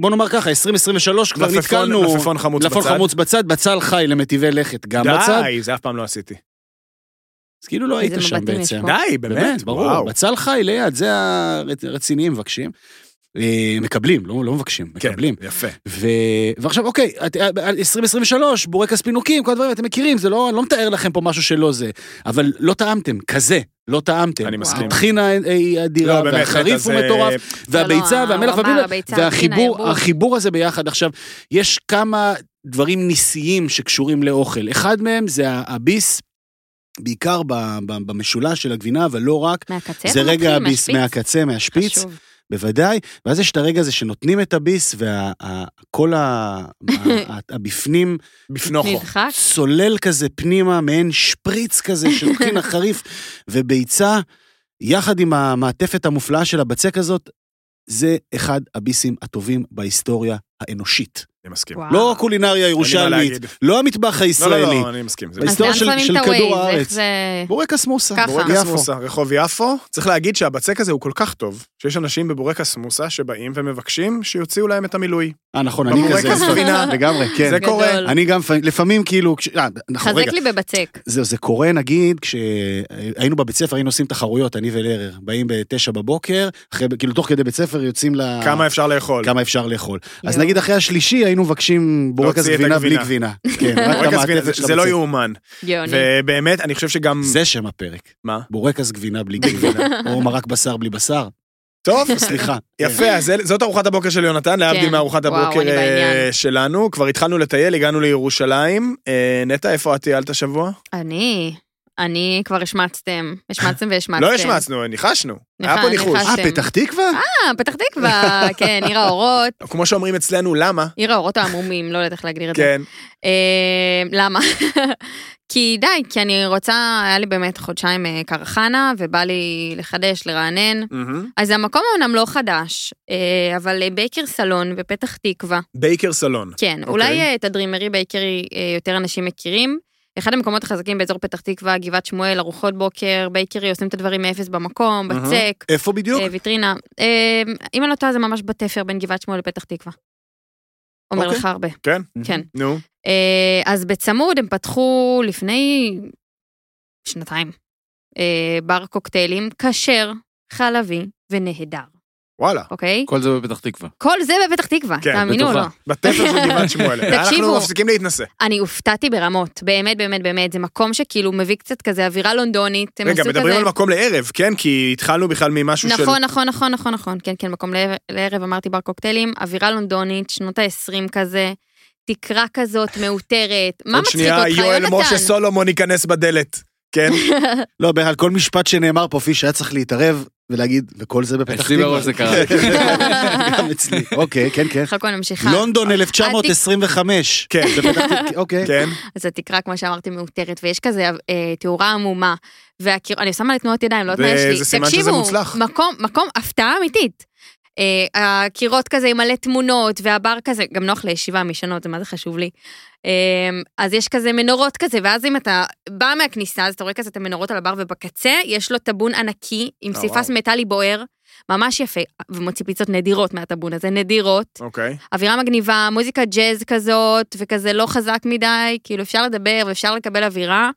B: בוא נאמר ככה, 2023 כבר
A: מלפפון-
B: נתקלנו...
A: מלפפון חמוץ בצד.
B: מלפפון חמוץ בצד, בצל חי למטיבי לכת גם בצד.
A: די, זה אף פעם לא עשיתי.
B: אז כאילו לא היית
D: איזה
B: שם
D: מבטים יש
B: בעצם.
D: פה.
A: די, נכון? באמת,
B: באמת, ברור.
A: וואו. כן,
B: בצל חי ליד, זה הרצ- הרציניים מבקשים. אה, מקבלים, לא לא מבקשים, מקבלים.
A: כן, יפה.
B: ו... ועכשיו, אוקיי, את- אה, ב- 2023, בורקס פינוקים, כל הדברים, אתם מכירים, זה לא, אני לא מתאר לכם פה משהו שלא זה, אבל לא טעמתם, כזה, לא טעמתם.
A: אני מסכים.
B: הטחינה אה, היא אדירה,
A: לא, באמת,
B: והחריף
A: נטע,
B: הוא
A: זה-
B: מטורף,
D: לא,
B: והביצה,
D: לא,
B: והמלח,
D: הוא אמר,
B: והביצה,
D: הביצה, הטחינה,
B: והחיבור,
D: הערבוב.
B: החיבור הזה ביחד. עכשיו, יש כמה דברים ניסיים שקשורים לאוכל. אחד מהם זה הביס, בעיקר ב- ב- במשולש של הגבינה, אבל לא רק.
D: מהקצה?
B: זה
D: אתה
B: רגע
D: מתחיל?
B: הביס
D: מהשפיץ?
B: מהקצה, מהשפיץ.
D: חשוב.
B: בוודאי, ואז יש את הרגע הזה שנותנים את הביס, וכל הבפנים נכון.
A: בפנוכו.
D: נדחק?
B: צולל כזה פנימה, מעין שפריץ כזה של טחינה חריף וביצה, יחד עם המעטפת המופלאה של הבצק הזאת, זה אחד הביסים הטובים בהיסטוריה האנושית.
A: אני מסכים.
D: וואו.
B: לא הקולינריה
A: אין לי מה
B: הירושלמית,
A: להגיד.
B: לא המטבח
A: לא, לא,
B: הישראלי.
A: לא, אני מסכים. זה
D: אז
B: ההיסטוריה
D: לאן
B: של-
D: שמים
B: של
D: את
B: כדור
D: ה-Waze?
B: הארץ.
D: איך זה...
B: בורקס מוסה.
D: ככה.
A: בורקס
B: יפו.
A: מוסה, רחוב יפו. צריך להגיד שהבצק הזה הוא כל כך טוב, שיש אנשים בבורקס מוסה שבאים ומבקשים שיוציאו להם את המילוי.
B: אה, נכון, אני
A: בבורקס
B: כזה.
A: גבינה.
B: לגמרי, כן.
A: זה
D: גדול.
A: קורה.
B: אני גם לפעמים- לפעמים כאילו, כש- אה, נכון, רגע,
D: חזק לי בבצק.
B: זהו, זה קורה נגיד, כשהיינו בבית ספר, היינו עושים תחרויות, אני ולרר. באים בתשע בבוקר, אחרי, כאילו תוך כדי בית ספר יוצאים ל...
A: כמה אפשר לאכול.
B: אה. כמה אפשר לאכול. אז
D: יואו.
B: נגיד אחרי השלישי היינו מבקשים בורקס
A: להוציא את
B: גבינה בלי
A: הגבינה.
B: גבינה. כן, רק את
A: בורקס גבינה,
B: המעטפת
A: זה-
B: של
A: זה לא
B: הבצק.
A: יאומן.
D: גאוני.
A: ובאמת, אני חושב שגם...
B: זה שם הפרק.
A: מה?
B: בורקס גבינה בלי גבינה. או מרק בשר בלי בשר.
A: טוב,
B: סליחה. כן.
A: יפה, אז אל- זאת ארוחת הבוקר של יונתן, להבדיל
D: כן.
A: מארוחת
D: וואו,
A: הבוקר
D: אני
A: אה,
D: בעניין.
A: שלנו. כבר התחלנו לטייל, הגענו לירושלים. אה, נטע, איפה את טיילת השבוע?
D: אני, אני כבר השמצתם. השמצתם והשמצתם.
A: לא השמצנו, ניחשנו. היה
D: ניחש-
A: פה ניחוש.
D: ניחש.
B: אה, פתח תקווה?
D: אה, פתח תקווה, כן, עיר האורות.
A: כמו שאומרים אצלנו, למה?
D: עיר האורות העמומים, לא יודעת איך להגדיר את זה.
A: כן.
D: אה, למה? כי די, כי אני רוצה, היה לי באמת חודשיים אה, קרחנה, ובא לי לחדש, לרענן.
A: מהמם.
D: אז המקום אומנם לא חדש, אה, אבל אה, בייקר סלון בפתח תקווה.
A: בייקר סלון.
D: כן,
A: אוקיי.
D: אולי אה, את הדרימרי בייקרי אה, יותר אנשים מכירים. אחד המקומות החזקים באזור פתח תקווה, גבעת שמואל, ארוחות בוקר, בייקרי, עושים את הדברים מאפס במקום,
A: אהה.
D: בצק,
B: איפה בדיוק?
D: אה, ויטרינה. אה, אם אני לא טועה, זה ממש בתפר בין גבעת שמואל לפתח תקווה. אומר
A: אוקיי.
D: לך הרבה.
A: כן?
D: כן.
A: נו.
D: אה, אז בצמוד הם פתחו לפני שנתיים אה, בר קוקטיילים כשר, חלבי ונהדר,
A: וואלה.
D: אוקיי?
E: כל זה בפתח תקווה.
D: כל זה בפתח תקווה,
A: כן,
D: תאמינו או לא.
E: בטוחה.
A: בתפר של גבעת שמואל. אנחנו
D: תקשיבו.
A: מפסיקים להתנשא.
D: אני הופתעתי ברמות, באמת, באמת, באמת, זה מקום שכאילו מביא קצת כזה אווירה לונדונית. הם
A: רגע,
D: עשו
A: מדברים
D: כזה...
A: על מקום לערב, כן? כי התחלנו בכלל ממשהו של...
D: נכון, נכון, נכון, נכון, נכון, כן, כן, מקום לערב- לערב, אמרתי בר קוקטיילים, אווירה לונדונית, שנות ה-20 כזה, תקרה כזאת מאותרת, מה
A: עוד
D: מצחיק
A: שנייה,
D: אותך,
A: יואל משה
D: יונתן?
A: סולומון ייכנס בדלת. כן?
B: לא, על כל משפט שנאמר פה, פיש היה צריך להתערב ולהגיד, וכל זה בפתח
E: אצלי
B: תקווה.
E: בראש זה כן. קרה.
A: כן.
B: גם אצלי. אוקיי, כן, כן.
D: חכו, אני ממשיכה.
B: לונדון 1925.
A: כן.
B: בפתח תקווה, אוקיי.
A: כן?
D: אז התקרה, כמו שאמרתי, מאותרת, ויש כזה אה, תאורה עמומה, והקיר... אני שמה לי תנועות ידיים, לא תנאי
A: וזה
D: שלי.
A: סימן שזה מוצלח.
D: מקום, מקום הפתעה אמיתית. אה, הקירות כזה עם מלא תמונות, והבר כזה, גם נוח לישיבה משנות, זה מה זה חשוב לי. אמ, אז יש כזה מנורות כזה, ואז אם אתה בא מהכניסה, אז אתה רואה כזה את המנורות על הבר, ובקצה יש לו טאבון ענקי, עם
A: אה,
D: פסיפס
A: וואו.
D: מטאלי בוער, ממש יפה, ומוציא פיצות נדירות מהטאבון הזה, נדירות.
A: אוקיי.
D: אווירה מגניבה, מוזיקה ג'אז כזאת, וכזה לא חזק מדי, כאילו אפשר לדבר ואפשר לקבל אווירה.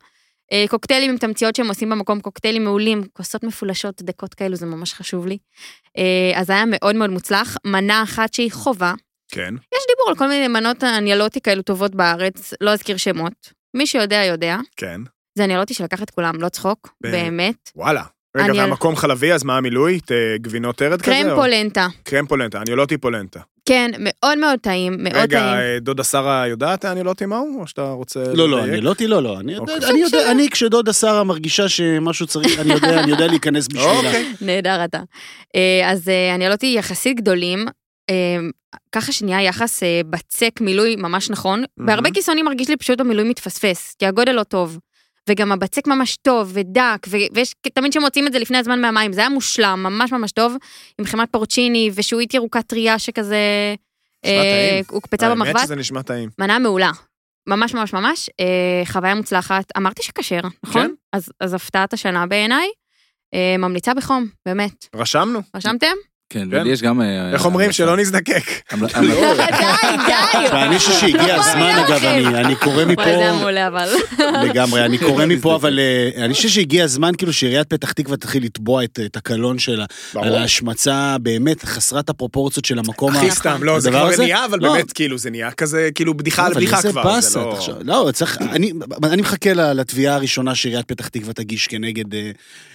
D: אה, קוקטיילים עם תמציות שהם עושים במקום, קוקטיילים מעולים, כוסות מפולשות, דקות כאלו, זה ממש חשוב לי. אה, אז היה מאוד מאוד מוצלח. מנה אחת שהיא חובה,
A: כן.
D: יש דיבור על כל מיני מנות אניאלוטי כאלו טובות בארץ, לא אזכיר שמות. מי שיודע, יודע.
A: כן.
D: זה אניאלוטי שלקח את כולם, לא צחוק,
A: ב-
D: באמת.
A: וואלה. רגע,
D: אני-
A: והמקום חלבי, אז מה המילוי? ת- גבינות ארד כזה?
D: קרם
A: או-
D: פולנטה.
A: קרם פולנטה, אניולוטי פולנטה.
D: כן, מאוד מאוד טעים, מאוד
A: רגע,
D: טעים.
A: אה, דודה שרה יודעת אניולוטי מהו? או שאתה רוצה...
B: לא, לא,
A: לדייק?
B: אני לא, לא, לא. אני
A: אוקיי.
B: יודע, אני יודע, אני כשדודה שרה מרגישה שמשהו צריך, אני יודע, אני יודע להיכנס בשבילה.
A: אוקיי.
D: נהדר אתה. אה, אז אה, אניאלוטי יחסית גדולים, אה, ככה שנהיה יחס אה, בצק מילוי ממש נכון.
A: מהמם.
D: בהרבה כיסונים מרגיש לי פשוט המילוי מתפספס, כי הגודל לא טוב. וגם הבצק ממש טוב ודק, ו- ויש תמיד שמוצאים את זה לפני הזמן מהמים, זה היה מושלם, ממש ממש טוב, עם חמת פורצ'יני ושעועית ירוקה טריה שכזה...
A: נשמע
D: אה,
A: טעים.
D: הוקפצה
A: האמת
D: במחבת,
A: שזה נשמע טעים.
D: מנה מעולה. ממש ממש ממש, אה, חוויה מוצלחת. אמרתי שכשר, נכון?
A: כן.
D: אז, אז הפתעת השנה בעיניי. אה, ממליצה בחום, באמת.
A: רשמנו.
D: רשמתם?
E: כן,
A: כן.
E: ולי יש גם... אה,
A: איך אומרים?
E: המלצה.
A: שלא לא. נזדקק.
E: המל- המלצה-
D: לא, די, די. לא
B: תשמע, אני חושב שהגיע הזמן, אגב, אני- אני קורא
D: אוקיי. נכון, וואי, זה היה
B: מפה...
D: מעולה אבל.
B: לגמרי,
A: כן,
B: אני קורא מפה, אבל אה, אני חושב שהגיע הזמן כאילו שעיריית פתח תקווה תתחיל לתבוע את אה, את הקלון שלה, על ההשמצה באמת חסרת הפרופורציות של המקום
A: הכי סתם, לא, זה
B: הדבר
A: כבר
B: הזה-
A: נהיה, אבל
B: לא.
A: באמת, כאילו, זה נהיה כזה, כאילו, בדיחה על
B: אבל
A: בדיחה
B: איזה
A: כבר.
B: באסה,
A: זה לא-
B: תחשוב. לא, צריך, אני, אני מחכה ל- לתביעה הראשונה שעיריית פתח תקווה תגיש כנגד, אה,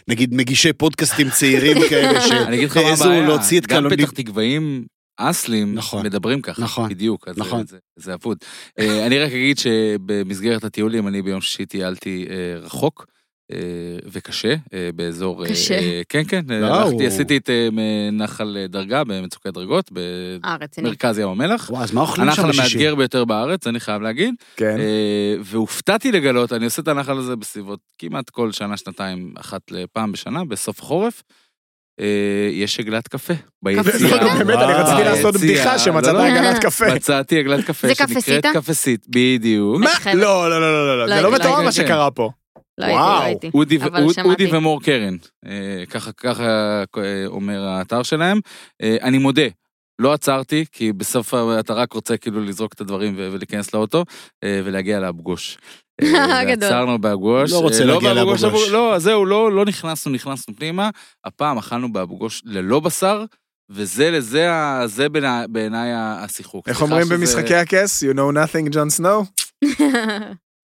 B: נגיד, מגישי פודקאסטים צעירים כאלה, ש...
E: אני אגיד לך מה
B: העזו
E: הבעיה,
B: אה, להוציא את
E: גם
B: קלון
E: פתח תקוואים אסלים
B: נכון.
E: מדברים ככה,
B: נכון.
E: בדיוק, אז זה-
B: נכון.
E: זה- זה אבוד. אה, אני רק אגיד שבמסגרת הטיולים אני ביום שישי טיילתי אה, רחוק. אה, וקשה, אה, באזור... אה,
D: קשה.
E: אה, כן, כן, אה,
B: לא, הוא-
E: הלכתי, עשיתי את אה, מ- נחל אה, דרגה במצוקי דרגות,
D: אה, רציני.
E: במרכז ים המלח.
B: וואו, אז מה אוכלים שם
E: הנחל
B: בשישי?
E: המאתגר ביותר בארץ, אני חייב להגיד.
A: כן.
E: אה, והופתעתי לגלות, אני עושה את הנחל הזה בסביבות כמעט כל שנה, שנתיים, אחת לפעם בשנה, בסוף החורף. אה, יש עגלת קפה ביציאה.
D: קפסיטה?
A: לא, באמת, אני רציתי
E: ביציאה.
A: לעשות בדיחה שמצאת
E: לא, לא,
A: הגנת קפה.
E: מצאתי עגלת קפה
D: זה
E: שנקראת
D: קפסיטה?
E: קפסית, בדיוק.
A: מה?
D: אני חייבת-
A: לא, לא, לא, לא, לא,
D: לא
A: זה לא
D: הייתי, לא
A: מתואר מה
E: הייתי.
A: שקרה פה.
D: לא הייתי, לא
A: וואו.
D: הייתי.
E: אודי ו-
D: אבל
E: אוד-
D: שמעתי.
E: אודי ומור קרן, אה, ככה ככה אה, אומר האתר שלהם. אה, אני מודה, לא עצרתי, כי בסוף ה- אתה רק רוצה כאילו לזרוק את הדברים ו- ולהיכנס לאוטו, אה, ולהגיע לאבגוש. אה,
D: גדול.
E: ועצרנו באבגוש.
B: לא
E: אה,
B: רוצה להגיע
E: באבגוש,
B: לאבו גוש.
E: אבל- לא, זהו, לא לא נכנסנו, נכנסנו פנימה. הפעם אכלנו באבגוש ללא בשר, וזה לזה, ה- זה בעיני- בעיניי ה- השיחוק.
A: איך
E: סליחה
A: אומרים
E: שזה-
A: במשחקי הכס? You know nothing, ג'ון סנואו?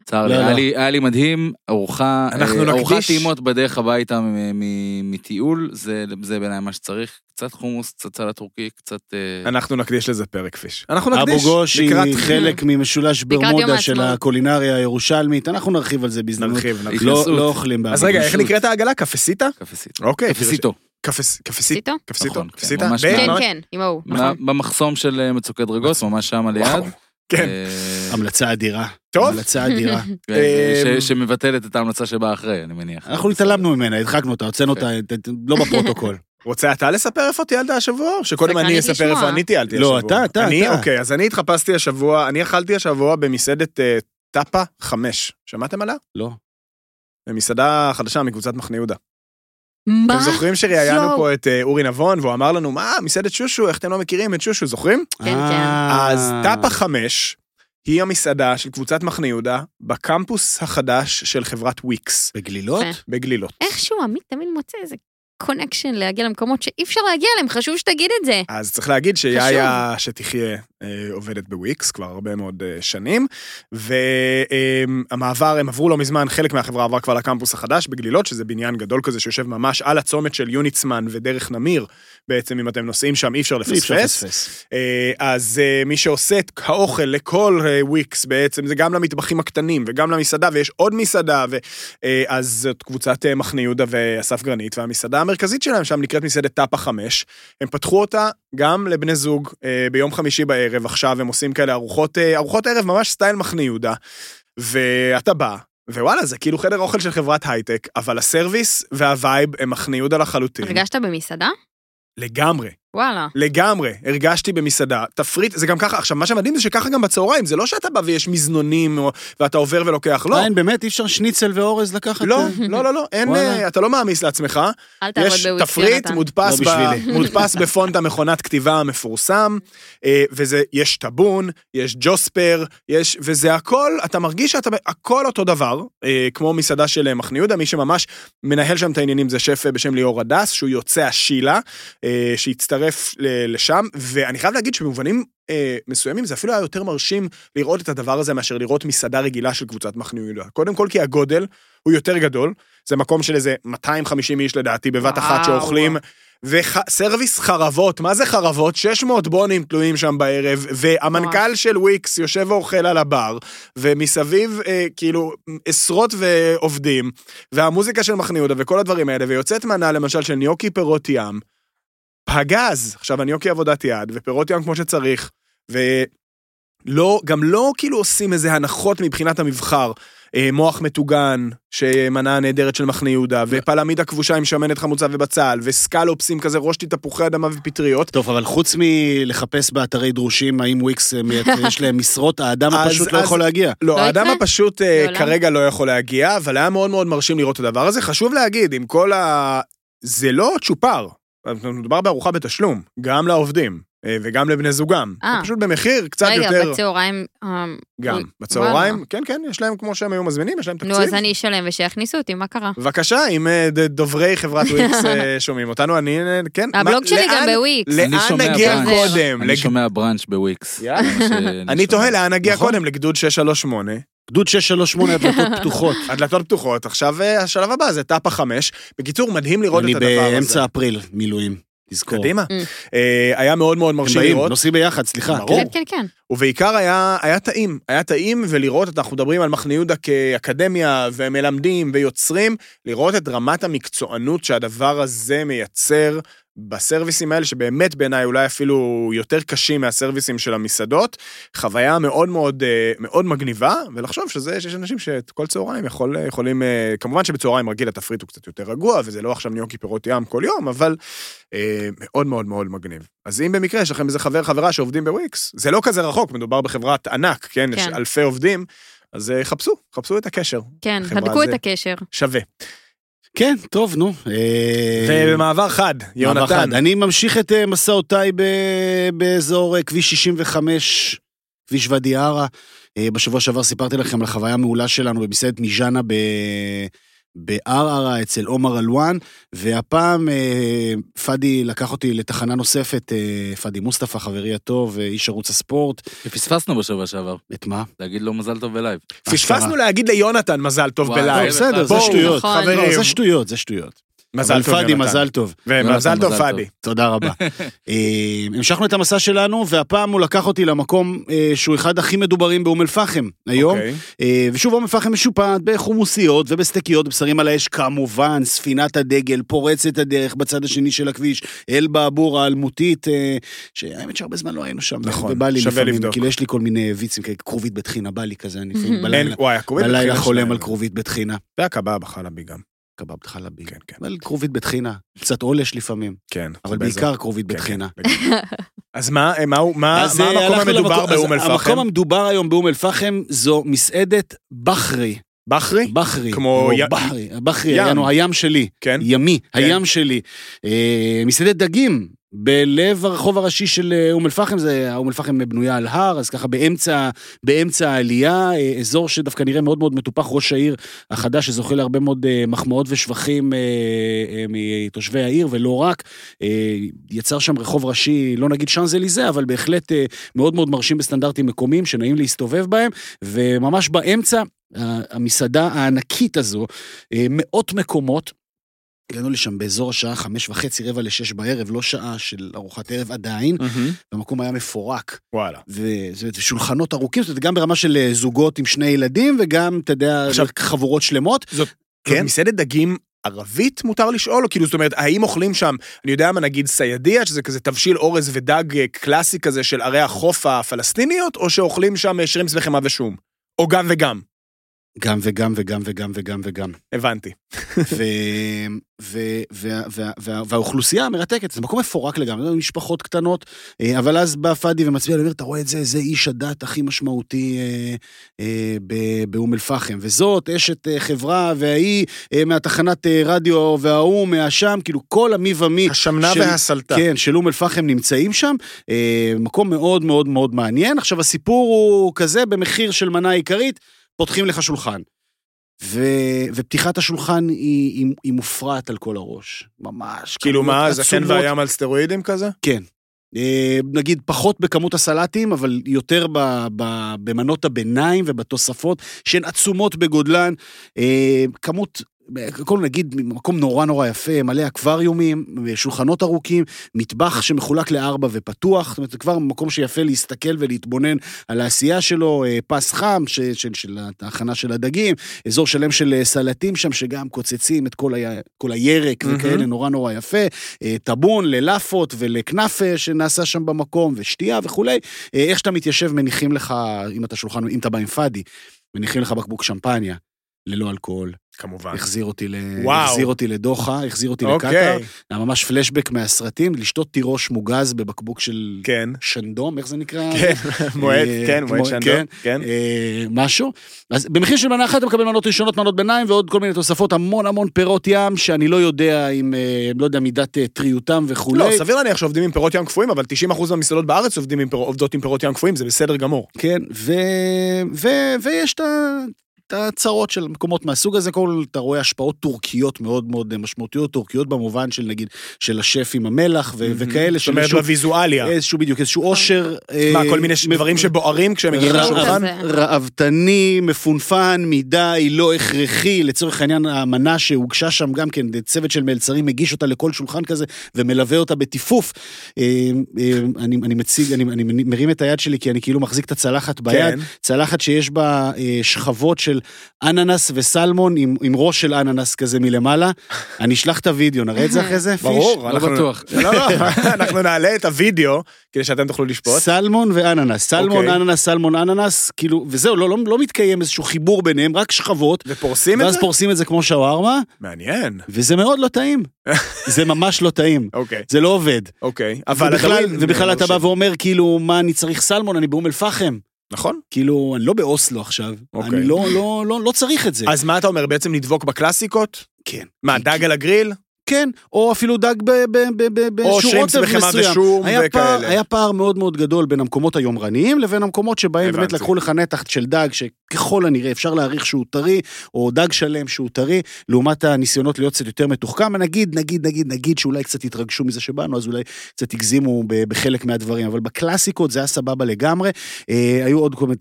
E: צר לי,
B: לא,
E: היה
B: לא.
E: לי- היה לי מדהים, ארוחה,
A: אנחנו
E: אה, ארוחת
A: נקדיש-
E: טעימות בדרך הביתה מ- מ- מטיול, זה זה בעיניי מה שצריך, קצת חומוס, קצת סלט טורקי, קצת... אה,
A: אנחנו נקדיש לזה פרק פיש. אנחנו
B: אבו
A: נקדיש.
B: גוש
A: לקראת-
B: היא חלק ממשולש
D: לקראת יום
B: ברמודה של
D: העצמאות.
B: הקולינריה הירושלמית, אנחנו נרחיב על זה בהזדמנות.
A: נרחיב, נרחיב.
B: לא
E: התנסות.
B: לא אוכלים באבו
A: אז רגע, איך
B: גוש.
A: נקראת העגלה? קפסיטה?
E: קפסיטו.
A: אוקיי.
E: קפסיטו.
A: קפס- קפסיטה?
D: סיטו?
A: קפסיטו?
E: נכון, כן,
A: קפסיטה?
E: ממש
A: ב-
D: כן,
E: ממש-
D: כן, עם ההוא,
E: מה-
D: נכון.
E: במחסום של אה, מצוקי דרגות, ממש שם על
A: וואו.
E: יד.
A: נכון. כן.
E: אה,
B: המלצה אדירה.
A: טוב.
B: המלצה אדירה.
E: אה, ש-
A: אה,
E: שמבטלת את ההמלצה שבאה אחרי, אני מניח.
B: אנחנו התעלמנו ממנה, הדחקנו אותה, הוצאנו אותה, ת- ת- לא בפרוטוקול.
A: רוצה אתה לספר איפה טיילת השבוע? או שקודם
D: סקרנית
A: אני אספר
D: לשמוע.
A: איפה אני טיילתי השבוע?
B: לא, אתה, אתה,
A: אני,
B: אתה.
A: אוקיי, אז אני התחפשתי השבוע, אני אכלתי השבוע במסעדת אה, טאפה 5. שמעתם עליה?
B: לא.
A: במסעדה חדשה מקבוצת מחנה יהודה.
D: מה?
A: אתם זוכרים שראיינו
D: יואו.
A: פה את אה, אורי נבון, והוא אמר לנו, מה, מסעדת שושו, איך אתם לא מכירים את שושו, זוכרים?
D: כן, כן.
B: אה.
A: אז טאפה 5 היא המסעדה של קבוצת מחנה יהודה בקמפוס החדש של חברת וויקס,
B: בגלילות?
D: יפה.
A: בגלילות.
D: איכשהו עמית תמיד מוצא איזה קונקשן להגיע למקומות שאי אפשר להגיע אליהם, חשוב שתגיד את זה.
A: אז צריך להגיד שיאיה שתחיה אה, עובדת בוויקס כבר הרבה מאוד אה, שנים, והמעבר, הם עברו לא מזמן, חלק מהחברה עבר כבר לקמפוס החדש בגלילות, שזה בניין גדול כזה שיושב ממש על הצומת של יוניצמן ודרך נמיר, בעצם אם אתם נוסעים שם אי אפשר
B: אי אפשר
A: לפספס.
B: לפספס.
A: אה, אז אה, מי שעושה את האוכל לכל אה, וויקס בעצם, זה גם למטבחים הקטנים וגם למסעדה, ויש עוד מסעדה, ו- אה, אז זאת קבוצת אה, מחנה יהודה ואסף גרנית, והמסעדה המרכזית שלהם שם נקראת מסעדת טאפה 5. הם פתחו אותה גם לבני זוג אה, ביום חמישי בערב, עכשיו הם עושים כאלה ארוחות, אה, ארוחות ערב ממש סטייל מחנה יהודה, ואתה בא. ווואלה, זה כאילו חדר אוכל של חברת הייטק, אבל הסרוויס והווייב הם מחנה יהודה לחלוטין.
D: הרגשת במסעדה?
A: לגמרי.
D: וואלה.
A: לגמרי, הרגשתי במסעדה. תפריט, זה גם ככה, עכשיו, מה שמדהים זה שככה גם בצהריים, זה לא שאתה בא ויש מזנונים, או, ואתה עובר ולוקח, לא.
B: לא. אין, באמת, אי אפשר שניצל ואורז לקחת? אה?
A: לא, לא, לא, לא, אין,
B: וואלה.
A: אה, אתה לא מעמיס לעצמך.
D: אל תעבוד
A: יש
D: בייעוץ,
A: תפריט
D: יונתן.
A: מודפס,
B: לא
A: ב,
B: בשבילי.
A: מודפס בפונט המכונת כתיבה המפורסם, אה, וזה, יש טאבון, יש ג'וספר, יש, וזה הכל, אתה מרגיש שאתה, הכל אותו דבר, אה, כמו מסעדה של אה, מחנה יהודה, מי שממש מנהל שם את העניינים זה שף אה, בשם ליאור הדס, שהוא יוצא השילה, אה, שהצטרף ל- לשם, ואני חייב להגיד שבמובנים... אה, מסוימים זה אפילו היה יותר מרשים לראות את הדבר הזה מאשר לראות מסעדה רגילה של קבוצת מחנה יהודה. קודם כל כי הגודל הוא יותר גדול, זה מקום של איזה 250 איש לדעתי בבת אחת
D: וואו.
A: שאוכלים, וסרוויס חרבות, מה זה חרבות? 600 בונים תלויים שם בערב, והמנכ"ל של וויקס יושב ואוכל על הבר, ומסביב אה, כאילו עשרות ועובדים, והמוזיקה של מחנה יהודה וכל הדברים האלה, ויוצאת מנה למשל של ניוקי פירות ים, פגז, עכשיו הניוקי עבודת יד, ופירות ים כמו שצריך, ו... לא, גם לא כאילו עושים איזה הנחות מבחינת המבחר. אה, מוח מטוגן, שמנה הנהדרת של מחנה יהודה, ופלמידה כבושה עם שמנת חמוצה ובצל, וסקלופסים כזה, ראש תפוחי אדמה ופטריות.
B: טוב, אבל חוץ מלחפש באתרי דרושים, האם וויקס אה, מ- יש להם משרות, האדם
A: אז-
B: הפשוט לא
A: אז-
B: יכול להגיע.
A: לא,
D: לא
A: האדם
D: יקרה.
A: הפשוט אה,
D: לעולם.
A: כרגע לא יכול להגיע, אבל היה מאוד מאוד מרשים לראות את הדבר הזה. חשוב להגיד, עם כל ה... זה לא צ'ופר, מדובר בארוחה בתשלום, גם לעובדים. אה, וגם לבני זוגם,
D: אה.
A: זה פשוט במחיר קצת
D: רגע,
A: יותר,
D: בצהריים... אה,
A: גם,
D: וואלה.
A: בצהריים, כן כן, יש להם כמו שהם היו מזמינים, יש להם תקציב.
D: נו, אז אני אשלם ושיכניסו אותי, מה קרה?
A: בבקשה, אם אה, ד- דוברי חברת וויקס אה, שומעים אותנו, אני... אה, כן. מה-
D: הבלוג שלי גם
A: לאן-
D: בוויקס.
E: אני
A: לאן
E: שומע
A: נגיע
D: בראנץ'.
A: קודם?
E: אני
A: לג-
E: שומע בראנץ' בוויקס.
A: יאללה.
E: זה מה שאני
A: אני
E: שומע.
A: תוהה לאן נגיע
E: נכון.
A: קודם, לגדוד 638.
B: גדוד 638 הדלתות פתוחות.
A: הדלתות פתוחות, עכשיו אה, השלב הבא זה טאפה 5. בקיצור, מדהים לראות את
B: אני
A: הדבר הזה.
B: באמצע אפריל, מילואים. תזכור.
A: קדימה.
D: Mm.
A: אה, היה מאוד מאוד
B: הם
A: מרשים
B: באים, לא
A: לראות.
B: נוסעים ביחד, סליחה.
A: ברור.
D: כן, כן, כן.
A: ובעיקר היה, היה טעים, היה טעים, ולראות, אנחנו מדברים על מחנה יהודה כאקדמיה, ומלמדים ויוצרים, לראות את רמת המקצוענות שהדבר הזה מייצר בסרוויסים האלה, שבאמת בעיניי אולי אפילו יותר קשים מהסרוויסים של המסעדות, חוויה מאוד מאוד, אה, מאוד מגניבה, ולחשוב שזה, שיש אנשים שכל צהריים יכול, יכולים, אה, כמובן שבצהריים רגיל התפריט הוא קצת יותר רגוע, וזה לא עכשיו ניוקי פירות ים כל יום, אבל אה, מאוד מאוד מאוד מגניב. אז אם במקרה יש לכם איזה חבר, חברה שעובדים בוויקס, זה לא כזה רחוק, מדובר בחברת ענק, כן? יש
D: כן.
A: אלפי עובדים, אז אה, חפשו, חפשו את הקשר,
D: כן,
A: החברה
D: הדקו
A: זה-
D: את הקשר.
A: שווה.
B: כן, טוב, נו. אה,
A: ובמעבר חד,
B: מעבר
A: יונתן,
B: אחד. אני ממשיך את אה, מסעותיי ב- באזור אה, כביש 65, כביש ואדי ערה. אה, בשבוע שעבר סיפרתי לכם על חוויה מעולה שלנו במסעדת מיז'אנה ב... בערערה אצל עומר אלואן, והפעם אה, פאדי לקח אותי לתחנה נוספת, אה, פאדי מוסטפא, חברי הטוב, אה, איש ערוץ הספורט.
E: פספסנו בשבוע שעבר,
B: את מה?
E: להגיד לו מזל טוב בלייב.
A: פספסנו
B: אשכרה.
A: להגיד ליונתן מזל אה, טוב
E: וואי,
B: לא,
A: בלייב.
E: זה
B: בסדר, זה
A: בואו,
B: שטויות.
D: נכון.
A: חברים.
B: לא, זה שטויות, זה שטויות.
A: מזל
B: אבל
A: טוב,
B: פאדי,
A: יונתן.
B: מזל טוב.
A: ומזל
E: יונתן,
A: טוב,
E: מזל טוב.
A: פאדי.
B: תודה רבה. אה, המשכנו את המסע שלנו, והפעם הוא לקח אותי למקום אה, שהוא אחד הכי מדוברים באום אל-פחם היום.
A: אוקיי.
B: אה, ושוב, אום אל-פחם משופעת בחומוסיות ובסטקיות, בשרים על האש, כמובן, ספינת הדגל, פורצת הדרך בצד השני של הכביש, אל בעבור האלמותית, אה, שהאמת שהרבה זמן לא היינו שם.
A: נכון,
B: ובא לי
A: שווה
B: לפעמים,
A: לבדוק.
B: כאילו יש לי כל מיני ויצים, כאלה, כרובית בטחינה, בא לי כזה, אני לפעמים
A: אין,
B: בלילה,
A: וואי, הכורים
B: בלילה
A: בטחינה
B: חולם
A: שלהם.
B: על כרובית בטחינה.
A: זה היה קבב, חלבי גם.
B: קבב חלבי.
A: כן, כן.
B: אבל כרובית בטחינה, קצת עולש לפעמים,
A: כן.
B: אבל
A: זה
B: בעיקר כרובית
A: כן,
B: בטחינה.
A: כן, לגמרי. אז מה, מה הוא- מה-
B: אז,
A: מה
B: אה,
A: המקום
B: הלכנו
A: המדובר
B: למקום- אז
A: באום אל-פחם?
B: המקום המדובר היום באום אל-פחם זו מסעדת בחרי.
A: בחרי?
B: בחרי.
A: אוקיי. כמו י-
B: י... בחרי. בחרי,
A: ים.
B: ים. הים שלי.
A: כן.
B: ימי, הים שלי. אה, מסעדת דגים. בלב הרחוב הראשי של אה, אום אל-פחם, זה- אום אל-פחם בנויה על הר, אז ככה באמצע, באמצע העלייה, אה, אזור שדווקא נראה מאוד מאוד מטופח, ראש העיר החדש שזוכה להרבה מאוד אה, מחמאות ושבחים אה, אה, מתושבי העיר, ולא רק, אה, יצר שם רחוב ראשי, לא נגיד שאנז אליזה, אבל בהחלט אה, מאוד מאוד מרשים בסטנדרטים מקומיים, שנעים להסתובב בהם, וממש באמצע, ה- המסעדה הענקית הזו, אה, מאות מקומות. הגענו לשם באזור השעה חמש וחצי, רבע לשש בערב, לא שעה של ארוחת ערב עדיין,
A: מהמם.
B: והמקום היה מפורק.
A: וואלה.
B: וזה זה שולחנות ארוכים, זאת אומרת, גם ברמה של אה, זוגות עם שני ילדים, וגם, אתה יודע,
A: עכשיו-
B: חבורות שלמות.
A: כן.
B: כן.
A: מסעדת דגים ערבית מותר לשאול? או כאילו, זאת אומרת, האם אוכלים שם, אני יודע מה, נגיד סיידיה, שזה כזה תבשיל אורז ודג אה, קלאסי כזה של ערי החוף הפלסטיניות, או שאוכלים שם אה, שרימפס וחמאה ושום? או גם וגם.
B: גם וגם וגם וגם וגם וגם.
A: הבנתי.
B: ו- ו- וה- וה- וה- והאוכלוסייה המרתקת, זה מקום מפורק לגמרי, משפחות קטנות, אה, אבל אז בא פאדי ומצביע, אומר, אתה רואה את זה, זה איש הדת הכי משמעותי אה, אה, ב- באום אל-פחם, וזאת אשת אה, חברה, וההיא אה, מהתחנת אה, רדיו, וההוא מהשם, כאילו כל המי ומי.
A: השמנה
B: של-
A: והסלטה.
B: כן, של אום אל-פחם נמצאים שם. אה, מקום מאוד מאוד מאוד מעניין. עכשיו, הסיפור הוא כזה, במחיר של מנה עיקרית, פותחים לך שולחן. ו, ופתיחת השולחן היא, היא, היא מופרעת על כל הראש. ממש.
A: כאילו
B: כמויות
A: מה, זקן
B: עצומות.
A: והים על סטרואידים כזה?
B: כן. אה, נגיד פחות בכמות הסלטים, אבל יותר ב, ב, במנות הביניים ובתוספות, שהן עצומות בגודלן. אה, כמות, הכל נגיד, מקום נורא נורא יפה, מלא אקווריומים, שולחנות ארוכים, מטבח שמחולק לארבע ופתוח, זאת אומרת, זה כבר מקום שיפה להסתכל ולהתבונן על העשייה שלו, אה, פס חם ש, של, של ההכנה של הדגים, אזור שלם של אה, סלטים שם, שגם קוצצים את כל, ה, כל הירק
A: מהמם.
B: וכאלה, נורא נורא יפה. אה, טאבון ללאפות ולכנאפה שנעשה שם במקום, ושתייה וכולי. אה, איך שאתה מתיישב, מניחים לך, אם אתה שולחן, אם אתה בא עם פאדי, מניחים לך בקבוק שמפניה. ללא אלכוהול,
A: כמובן.
B: החזיר אותי, ל...
A: אה. וואו.
B: החזיר אותי לדוחה, החזיר אותי לקטאר,
A: אוקיי,
B: היה ממש פלשבק מהסרטים, לשתות תירוש מוגז בבקבוק של
A: כן.
B: שנדום, איך זה נקרא?
A: כן, מועד,
B: אה,
A: כן, מועד
B: מועד,
A: שנדון,
B: כן.
A: כן.
B: אה, משהו. אז במחיר של מנה אחת אתה מקבל מנות ראשונות, מנות ביניים ועוד כל מיני תוספות, המון המון פירות ים, שאני לא יודע אם, אה, לא יודע מידת אה, טריותם וכולי.
A: לא, סביר להניח שעובדים עם פירות ים קפואים, אבל 90% מהמסעדות בארץ עובדים עם פירות- עובדות עם פירות ים קפואים, זה בסדר גמור.
B: כן, ו... ו... ויש את ה... את הצרות של מקומות מהסוג הזה, כל אתה רואה השפעות טורקיות מאוד מאוד משמעותיות, טורקיות במובן של נגיד, של השף עם המלח ו- וכאלה,
A: זאת
B: של
A: אומרת,
B: איזשהו-
A: בוויזואליה.
B: איזשהו בדיוק, איזשהו עושר.
A: מה,
B: אה,
A: כל מיני ש-
B: מב-
A: דברים שבוערים כשהם מגיעים
B: רעב-
A: לשולחן?
D: כזה.
B: רעבתני, מפונפן, מדי, לא הכרחי, לצורך העניין האמנה שהוגשה שם גם כן, צוות של מלצרים הגיש אותה לכל שולחן כזה ומלווה אותה בטיפוף. אה, אה, אני, אני מציג, אני, אני מרים את היד שלי כי אני כאילו מחזיק את הצלחת ביד,
A: כן.
B: צלחת שיש בה אה, שכבות של אננס וסלמון עם, עם ראש של אננס כזה מלמעלה. אני אשלח את הוידאו, נראה את זה אחרי זה, פיש?
A: ברור,
E: לא
A: אנחנו-
E: בטוח.
A: לא, לא, אנחנו נעלה את הוידאו כדי שאתם תוכלו לשפוט.
B: סלמון ואננס, סלמון,
A: אוקיי.
B: אננס, סלמון, אננס, כאילו, וזהו, לא, לא, לא מתקיים איזשהו חיבור ביניהם, רק שכבות,
A: ופורסים את
B: ואז
A: זה?
B: פורסים את זה כמו שווארמה,
A: מעניין.
B: וזה מאוד לא טעים. זה ממש לא טעים.
A: אוקיי,
B: זה לא עובד.
A: אוקיי. אבל
B: ובכלל,
A: הדברים-
B: ובכלל אתה בא
A: מרשים.
B: ואומר, כאילו, מה אני צריך סלמון, אני באום אל-פחם.
A: נכון.
B: כאילו, אני לא באוסלו עכשיו.
A: אוקיי.
B: אני לא, לא, לא, לא צריך את זה.
A: אז מה אתה אומר, בעצם לדבוק בקלאסיקות?
B: כן.
A: מה, דג על הגריל?
B: כן, או אפילו דג ב- ב- ב- ב-
A: או
B: בשיעור
A: שרימפס
B: עוטף
A: בחמאה
B: מסוים.
A: ושום
B: היה פער,
A: וכאלה?
B: היה פער מאוד מאוד גדול בין המקומות היומרניים לבין המקומות שבהם באמת
A: הבנתי.
B: לקחו לך נתח של דג שככל הנראה אפשר להעריך שהוא טרי, או דג שלם שהוא טרי, לעומת הניסיונות להיות קצת יותר מתוחכם. נגיד, נגיד, נגיד, נגיד שאולי קצת התרגשו מזה שבאנו, אז אולי קצת הגזימו ב- בחלק מהדברים, אבל בקלאסיקות זה היה סבבה לגמרי. אה, היו עוד כל מיני...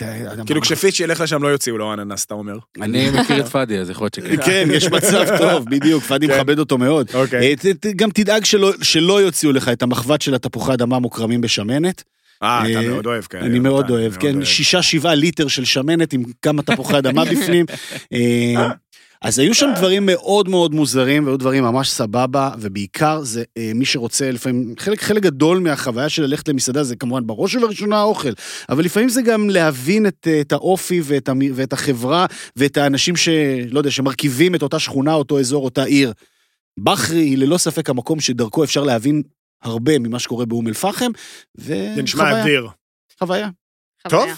A: כאילו כשפיץ' ילך לשם לא יוציאו לו אננס, אתה אומר.
E: אני מכיר את פאדי, אז יכול להיות שכן.
B: כן, יש מצב טוב, בדיוק, פאדי
A: כן.
B: מכבד אותו מאוד.
A: אוקיי.
B: אה, ת- ת- גם תדאג שלא, שלא יוציאו לך את המחבת של התפוחי אדמה מוקרמים בשמנת.
A: אה, אתה
B: אה,
A: מאוד אוהב כאלה.
B: אני מאוד
A: אתה
B: אוהב, כן, שישה, שבעה ליטר של שמנת עם כמה תפוחי אדמה בפנים. אה, אז היו שם דברים מאוד מאוד מוזרים, והיו דברים ממש סבבה, ובעיקר זה אה, מי שרוצה, לפעמים, חלק, חלק גדול מהחוויה של ללכת למסעדה זה כמובן בראש ובראשונה האוכל, אבל לפעמים זה גם להבין את, אה, את האופי ואת, המ- ואת החברה ואת האנשים ש... לא יודע, שמרכיבים את אותה שכונה, אותו אזור, אותה עיר. בחרי היא ללא ספק המקום שדרכו אפשר להבין הרבה ממה שקורה באום אל-פחם,
A: זה
B: כן,
A: נשמע
B: וחוויה,
A: אדיר.
B: חוויה.
A: טוב,
D: חוויה.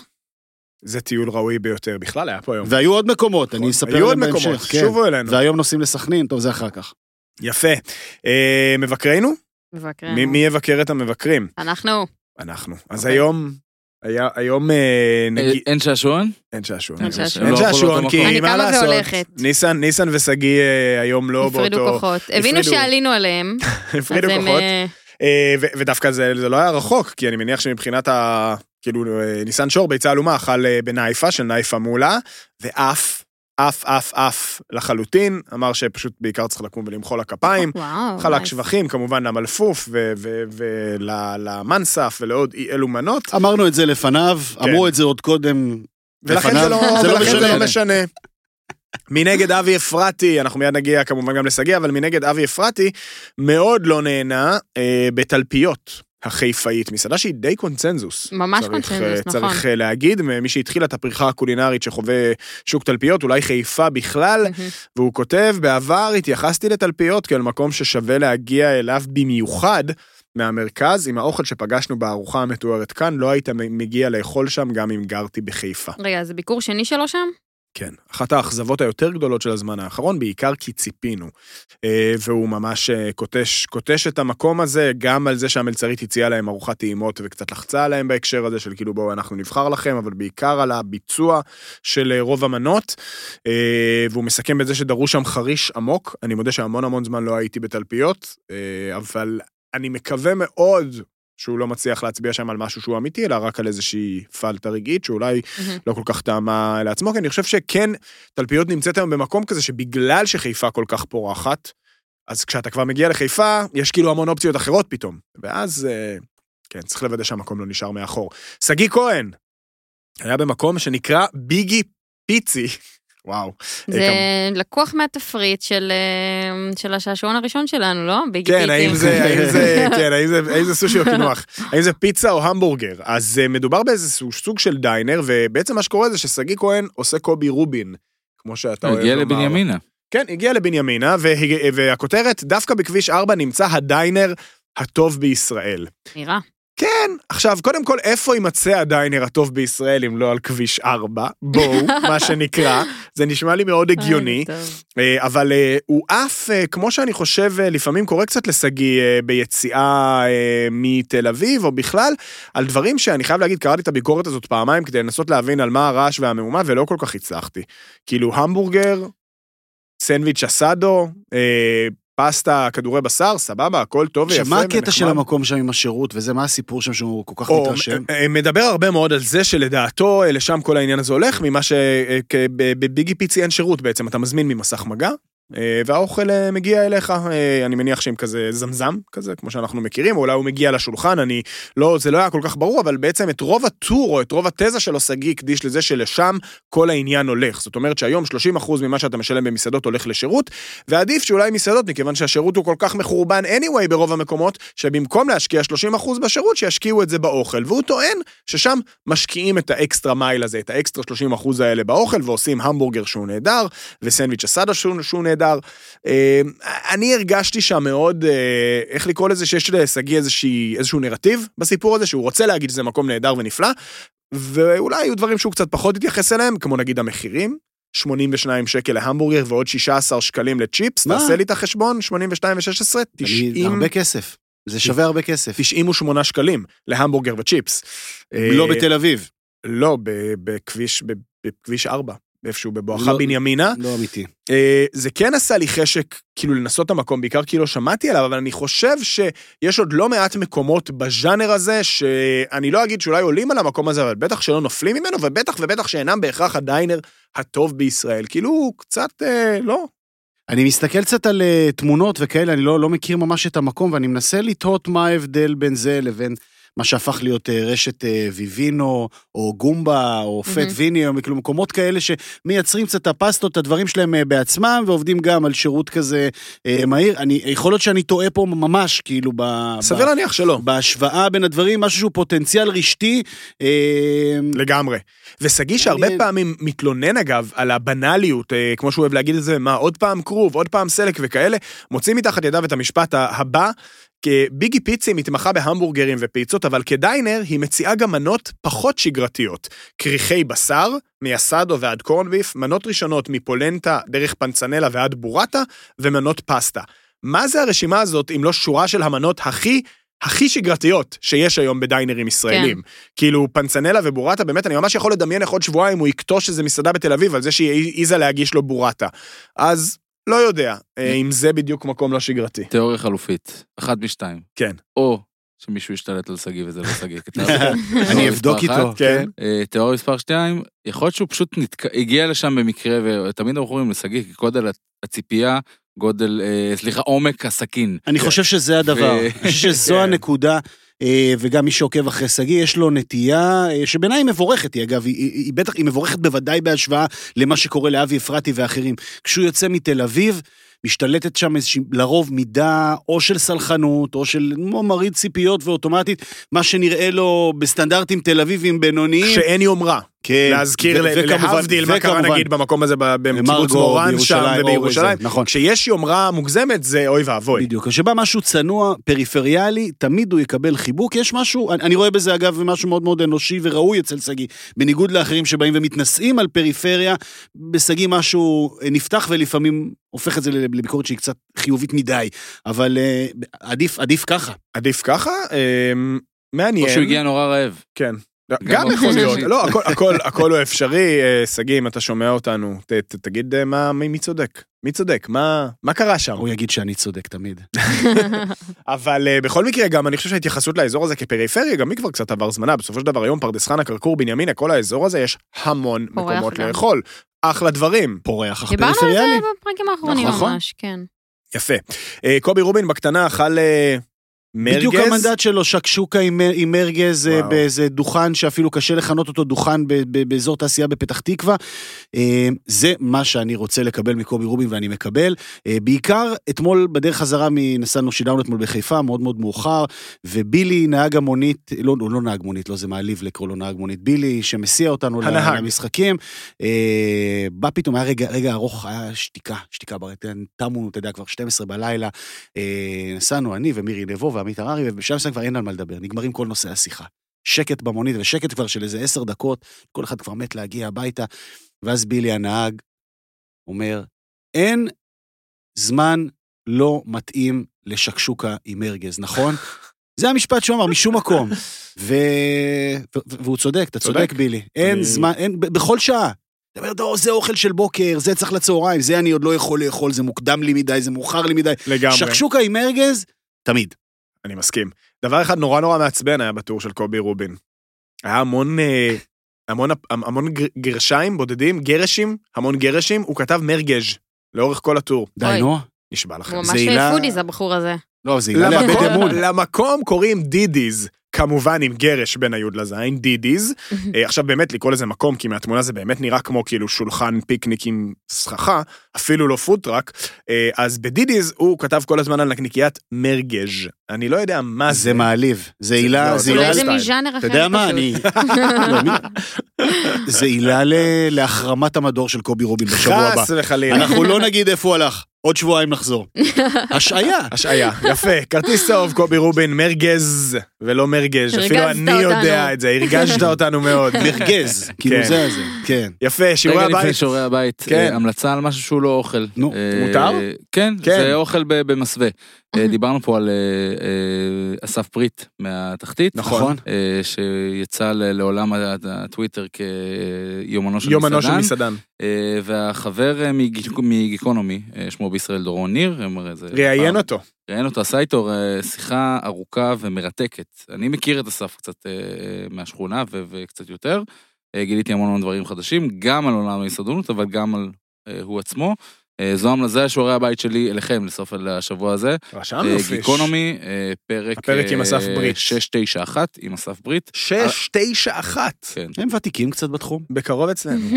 A: זה טיול ראוי ביותר. בכלל היה פה היום.
B: והיו עוד מקומות, אני אספר
A: נכון. היו עוד
B: עליהם
A: מקומות,
B: בהמשך. כן.
A: שובו אלינו.
B: והיום נוסעים לסכנין, טוב, זה אחר כך.
A: יפה. אה, מבקרינו?
D: מבקרים.
E: כן.
A: מי מי יבקר את המבקרים?
D: אנחנו.
A: אנחנו. אז
D: אוקיי.
A: היום... היה היום אה,
E: אה,
A: נגיד...
E: אין שעשועון?
A: אין שעשועון.
D: אין שעשועון.
A: אין
E: לא הלכו
A: שעשועון,
E: לאותו
A: כי
D: אני
A: מה
D: קמה
A: לעשות?
D: והולכת.
A: ניסן, ניסן ושגיא אה, היום לא באותו...
D: הפרידו כוחות. הבינו שעלינו עליהם.
A: הפרידו
D: אז הם,
A: כוחות.
D: אה,
A: אה, ו- ודווקא זה, זה לא היה רחוק, כי אני מניח שמבחינת ה... כאילו, אה, ניסן שור, ביצה עלומה, אכל אה, בנייפה של נייפה מולה, ואף, אף, אף, אף לחלוטין, אמר שפשוט בעיקר צריך לקום ולמחוא לה כפיים.
D: אה, וואו.
A: חלק
D: nice.
A: שבחים, כמובן, למלפוף ולמנסף ולעוד אי אלו מנות,
B: אמרנו את זה לפניו,
A: כן.
B: אמרו את זה עוד קודם.
A: ולכן
B: לפניו.
A: זה לא,
B: זה לא
A: ולכן זה לא
B: משנה.
A: משנה. מנגד אבי אפרתי, אנחנו מיד נגיע כמובן גם לשגיא, אבל מנגד אבי אפרתי מאוד לא נהנה אה, בתלפיות. החיפאית, מסעדה שהיא די קונצנזוס.
D: ממש
A: צריך,
D: קונצנזוס,
A: אה,
D: נכון.
A: צריך אה, להגיד, מי שהתחילה את הפריחה הקולינרית שחווה שוק תלפיות, אולי חיפה בכלל,
D: מהמם.
A: והוא כותב, בעבר התייחסתי לתלפיות כאל מקום ששווה להגיע אליו במיוחד מהמרכז, עם האוכל שפגשנו בארוחה המתוארת כאן, לא היית מגיע לאכול שם גם אם גרתי בחיפה.
D: רגע, אז ביקור שני שלו שם?
A: כן, אחת האכזבות היותר גדולות של הזמן האחרון, בעיקר כי ציפינו. אה, והוא ממש אה, קוטש, קוטש את המקום הזה, גם על זה שהמלצרית הציעה להם ארוחת טעימות וקצת לחצה עליהם בהקשר הזה של כאילו בואו אנחנו נבחר לכם, אבל בעיקר על הביצוע של אה, רוב המנות. אה, והוא מסכם בזה שדרוש שם חריש עמוק. אני מודה שהמון המון זמן לא הייתי בתלפיות, אה, אבל אני מקווה מאוד... שהוא לא מצליח להצביע שם על משהו שהוא אמיתי, אלא רק על איזושהי פלטה רגעית, שאולי
D: מהמם.
A: לא כל כך טעמה לעצמו, כי אני חושב שכן, תלפיות נמצאת היום במקום כזה שבגלל שחיפה כל כך פורחת, אז כשאתה כבר מגיע לחיפה, יש כאילו המון אופציות אחרות פתאום. ואז, אה, כן, צריך לוודא שהמקום לא נשאר מאחור. שגיא כהן היה במקום שנקרא ביגי פיצי. וואו. אה,
D: זה
A: כמ-
D: לקוח מהתפריט של, אה, של השעשועון הראשון שלנו, לא? ביגי
A: כן,
D: פיטי.
A: האם זה, האם זה, כן, האם זה, האם זה סושי או קינוח? האם זה פיצה או המבורגר? אז אה, מדובר באיזשהו סוג של דיינר, ובעצם מה שקורה זה ששגיא כהן עושה קובי רובין, כמו שאתה אוהב לומר.
E: אה, הגיע לבנימינה.
A: כן, הגיע לבנימינה, והג- והכותרת, דווקא בכביש 4 נמצא הדיינר הטוב בישראל.
D: נראה.
A: כן, עכשיו, קודם כל, איפה יימצא הדיינר הטוב בישראל אם לא על כביש 4? בואו, מה שנקרא. זה נשמע לי מאוד הגיוני.
D: אה, טוב.
A: אה, אבל אה, הוא עף, אה, כמו שאני חושב, אה, לפעמים קורה קצת לשגיא אה, ביציאה אה, מתל אביב, או בכלל, על דברים שאני חייב להגיד, קראתי את הביקורת הזאת פעמיים כדי לנסות להבין על מה הרעש והמהומה, ולא כל כך הצלחתי. כאילו, המבורגר, סנדוויץ' אסדו, אה, פסטה, כדורי בשר, סבבה, הכל טוב ויפה
B: עכשיו, מה הקטע
A: ונחמד.
B: של המקום שם עם השירות וזה, מה הסיפור שם שהוא כל כך
A: או,
B: מתרשם?
A: אה, אה, מדבר הרבה מאוד על זה שלדעתו אה, לשם כל העניין הזה הולך, ממה אה, שבביגי פיצי אין שירות בעצם, אתה מזמין ממסך מגע, אה, והאוכל אה, מגיע אליך, אה, אני מניח שעם כזה זמזם כזה, כמו שאנחנו מכירים, או אולי הוא מגיע לשולחן, אני לא, זה לא היה כל כך ברור, אבל בעצם את רוב הטור או את רוב התזה שלו שגיא הקדיש לזה שלשם כל העניין הולך. זאת אומרת שהיום 30% ממה שאתה משלם במסעדות הולך לשירות, ועדיף שאולי מסעדות, מכיוון שהשירות הוא כל כך מחורבן anyway ברוב המקומות, שבמקום להשקיע 30% בשירות, שישקיעו את זה באוכל. והוא טוען ששם משקיעים את האקסטרה מייל הזה, את האקסטרה 30% האלה באוכל, ועושים המבורגר שהוא נהדר, וסנדוויץ' הסאדה שהוא, שהוא נהדר. אה, אני הרגשתי שם מאוד, אה, איך לקרוא לזה, שיש לשגיא איזושהי- איזשהו נרטיב בסיפור הזה, שהוא רוצה להגיד שזה מקום נהדר ונפלא, ואולי היו דברים שהוא קצת פחות התייחס אליהם, כמו נגיד המחירים. 82 שקל להמבורגר ועוד 16 שקלים לצ'יפס,
B: מה?
A: תעשה לי את החשבון, 82 ו-16,
B: אני-
A: 90,
B: הרבה כסף. זה שווה הרבה כסף.
A: 98 שקלים להמבורגר וצ'יפס.
B: לא
A: אה,
B: בתל אביב.
A: לא, ב- בכביש, ב- בכביש 4, איפשהו בבואכה
B: לא-
A: בנימינה.
B: לא אמיתי.
A: אה, זה כן עשה לי חשק, כאילו, לנסות את המקום, בעיקר כי לא שמעתי עליו, אבל אני חושב שיש עוד לא מעט מקומות בז'אנר הזה, שאני לא אגיד שאולי עולים על המקום הזה, אבל בטח שלא נופלים ממנו, ובטח ובטח שאינם בהכרח הדיינר הטוב בישראל. כאילו, הוא קצת, אה, לא.
B: אני מסתכל קצת על אה, תמונות וכאלה, אני לא, לא מכיר ממש את המקום, ואני מנסה לתהות מה ההבדל בין זה לבין מה שהפך להיות אה, רשת אה, ויבינו, או גומבה, או פט
D: מהמם.
B: ויני, או כאילו מקומות כאלה שמייצרים קצת את הפסטות, את הדברים שלהם אה, בעצמם, ועובדים גם על שירות כזה אה, מהיר. אני, יכול להיות שאני טועה פה ממש, כאילו, ב... ב-
A: סביר להניח שלא.
B: בהשוואה בין הדברים, משהו שהוא פוטנציאל רשתי. אה,
A: לגמרי. ושגיא שהרבה
B: אני-
A: פעמים מתלונן אגב על הבנאליות, אה, כמו שהוא אוהב להגיד את זה, מה עוד פעם כרוב, עוד פעם סלק וכאלה, מוציא מתחת ידיו את המשפט ה- הבא, כי ביגי פיצי מתמחה בהמבורגרים ופיצות, אבל כדיינר היא מציעה גם מנות פחות שגרתיות. כריכי בשר, מאסדו ועד קורנביף, מנות ראשונות מפולנטה דרך פנצנלה ועד בורטה, ומנות פסטה. מה זה הרשימה הזאת אם לא שורה של המנות הכי, הכי שגרתיות שיש היום בדיינרים ישראלים?
B: כן.
A: כאילו, פנצנלה ובורטה, באמת, אני ממש יכול לדמיין איך עוד שבועיים הוא יכתוש איזה מסעדה בתל אביב על זה שהיא העיזה להגיש לו בורטה. אז לא יודע אה, אם זה בדיוק מקום לא שגרתי.
E: תיאוריה חלופית, אחת משתיים.
A: כן.
E: או שמישהו השתלט על שגיא וזה לא שגיא. כי אתה- תיאוריה
B: אני
E: מספר
B: אבדוק
E: אחת.
B: איתו.
A: כן.
E: אה, תיאוריה מספר שתיים, יכול להיות שהוא פשוט נתק... הגיע לשם במקרה, ותמיד אנחנו אומרים לשגיא, כי גודל הציפייה, גודל, אה, סליחה, עומק הסכין.
B: אני חושב שזה הדבר,
E: ו-
B: אני חושב שזו
A: כן.
B: הנקודה, אה, וגם מי שעוקב אחרי שגיא, יש לו נטייה, אה, שבעיניי היא מבורכת, היא אגב, היא- היא היא בטח, היא מבורכת בוודאי בהשוואה למה שקורה לאבי אפרתי ואחרים. כשהוא יוצא מתל אביב, משתלטת שם איזושהי, לרוב מידה או של סלחנות, או של כמו מרעיד ציפיות ואוטומטית, מה שנראה לו בסטנדרטים תל אביבים בינוניים.
A: שאין יומרה.
B: כן.
A: להזכיר
B: ו-
A: ל-
B: וכמובן-
A: להבדיל מה קרה
B: וכמובן,
A: נגיד במקום הזה ב- בקיבוץ
B: במרגו,
A: מורן שם
B: בירושלים, או
A: ובירושלים.
B: זה, נכון.
A: כשיש יומרה מוגזמת זה אוי ואבוי.
B: בדיוק, כשבא משהו צנוע, פריפריאלי, תמיד הוא יקבל חיבוק. יש משהו, אני, אני רואה בזה אגב משהו מאוד מאוד אנושי וראוי אצל שגיא, בניגוד לאחרים שבאים ומתנשאים על פריפריה, בשגיא משהו אה, נפתח ולפעמים הופך את זה לב- לביקורת שהיא קצת חיובית מדי, אבל אה, עדיף, עדיף ככה.
A: עדיף ככה? אמ, מעניין.
E: או שהוא הגיע נורא רעב.
A: כן. גם
E: גם
A: יכול
E: אופציה
A: להיות,
E: שלישית.
A: לא, הכל- הכל- הכל הוא אפשרי, אה, שגיא, אם אתה שומע אותנו, ת- ת- תגיד אה, מה- מי מי צודק, מי צודק, מה מה קרה שם.
B: הוא יגיד שאני צודק תמיד.
A: אבל אה, בכל מקרה, גם אני חושב שההתייחסות לאזור הזה כפריפריה, גם היא כבר קצת עבר זמנה. בסופו של דבר, היום פרדס חנה, כרכור, בנימינה, כל האזור הזה, יש המון
D: פורח
A: מקומות
D: גם.
A: לאכול. אחלה דברים.
B: פורח אך
D: דיברנו על
B: פריפריאלי.
D: זה בפרקים האחרונים
B: נכון.
D: ממש, כן.
A: יפה. אה, קובי רובין בקטנה אכל אה, מרגז.
B: בדיוק המנדט שלו, שקשוקה עם, עם מרגז אה,
A: וואו.
B: באיזה דוכן שאפילו קשה לכנות אותו דוכן ב, ב, באזור תעשייה בפתח תקווה. אה, זה מה שאני רוצה לקבל מקובי רובין ואני מקבל. אה, בעיקר אתמול בדרך חזרה, מ- נסענו, שידרנו אתמול בחיפה, מאוד מאוד מאוחר, ובילי, נהג המונית, לא, הוא לא נהג מונית, לא זה מעליב לקרוא לו נהג מונית, בילי שמסיע אותנו
A: הנהג.
B: למשחקים, אה, בא פתאום, היה רגע, רגע ארוך, היה שתיקה, שתיקה ברטן, תמו, אתה יודע, כבר 12 בלילה, אה, נסענו אני ומירי נבו ועמית הררי, ובשלב מסוים כבר אין על מה לדבר, נגמרים כל נושאי השיחה. שקט במונית, ושקט כבר של איזה עשר דקות, כל אחד כבר מת להגיע הביתה, ואז בילי הנהג אומר, אין זמן לא מתאים לשקשוקה עם ארגז, נכון? זה המשפט שהוא אמר, משום מקום. ו... ו... והוא צודק, אתה צודק,
A: צודק.
B: בילי. אין
A: אני-
B: זמן, אין... ב- בכל שעה. אתה אומר, "לא, זה אוכל של בוקר, זה צריך לצהריים, זה אני עוד לא יכול לאכול, זה מוקדם לי מדי, זה מאוחר לי מדי.
A: לגמרי.
B: שקשוקה עם ארגז, תמיד.
A: אני מסכים. דבר אחד נורא נורא מעצבן היה בטור של קובי רובין. היה המון, אה, המון, המון גר- גרשיים בודדים, גרשים, המון גרשים, הוא כתב מרגז לאורך כל הטור.
B: די,
D: אוי.
B: נו.
A: נשבע לכם.
D: הוא
B: זה
D: ממש
B: הילה-
D: פודיז הבחור הזה.
B: לא, זה עילה לאבד
A: למקום,
B: אמון.
A: למקום קוראים דידיז. כמובן עם גרש בין היוד לזין, דידיז. אה, עכשיו באמת לקרוא לזה מקום, כי מהתמונה זה באמת נראה כמו כאילו שולחן פיקניק עם סככה, אפילו לא פוטראק. אה, אז בדידיז הוא כתב כל הזמן על נקניקיית מרגז. אני לא יודע מה זה.
B: זה מעליב. זה
A: לא,
B: עילה, זה
A: זה לא
B: עילה...
D: אולי זה
A: סטייל.
D: מז'אנר אחר
B: אתה יודע מה,
D: פשוט.
B: אני... לא, מי- זה עילה ל- להחרמת המדור של קובי רובין בשבוע הבא.
A: חס וחלילה. אה,
B: אנחנו לא נגיד איפה הוא הלך, עוד שבועיים נחזור. השעיה.
A: השעיה, יפה. כרטיס צהוב, קובי רובין, מרגז, ולא מרגז. אפילו
D: הרגזת
A: אני יודע
D: אותנו.
A: את זה, הרגשת אותנו מאוד.
B: מרגז, כאילו
A: כן.
B: זה זה, כן.
A: יפה, שיעורי
E: רגע לפני
A: הבית.
E: שיעורי הבית,
A: כן.
E: אה, המלצה על משהו שהוא לא אוכל.
B: נו,
E: אה,
A: מותר?
E: כן,
A: כן. אוקיי.
E: זה אוכל ב- במסווה. אה,
D: Mhm.
E: דיברנו פה על אה, אה, אסף פריט מהתחתית.
B: נכון.
E: אה, שיצא ל- לעולם ה- הטוויטר כיומנו של
A: יומנו של
E: מסעדן.
A: מסעדן.
E: אה, והחבר אה, מגיק- מגיקונומי, אה, שמו בישראל דורון ניר, אמר איזה...
A: ראיין
E: פעם.
A: אותו.
E: ראיין אותו, עשה איתו אה, שיחה ארוכה ומרתקת. אני מכיר את אסף קצת אה, אה, מהשכונה ו- וקצת יותר. אה, גיליתי המון המון דברים חדשים, גם על עולם ההסתדרות, אבל גם על אה, הוא עצמו. אה, זו המלזה שיעורי הבית שלי אליכם לסוף השבוע הזה.
A: רשמנו
E: אה,
A: פיש.
E: גיקונומי, אה, פרק...
A: הפרק עם אסף
E: אה,
A: ברית.
E: 691 עם אסף ברית.
A: שש, תשע, אחת.
E: כן,
B: הם ותיקים קצת בתחום.
A: בקרוב אצלנו.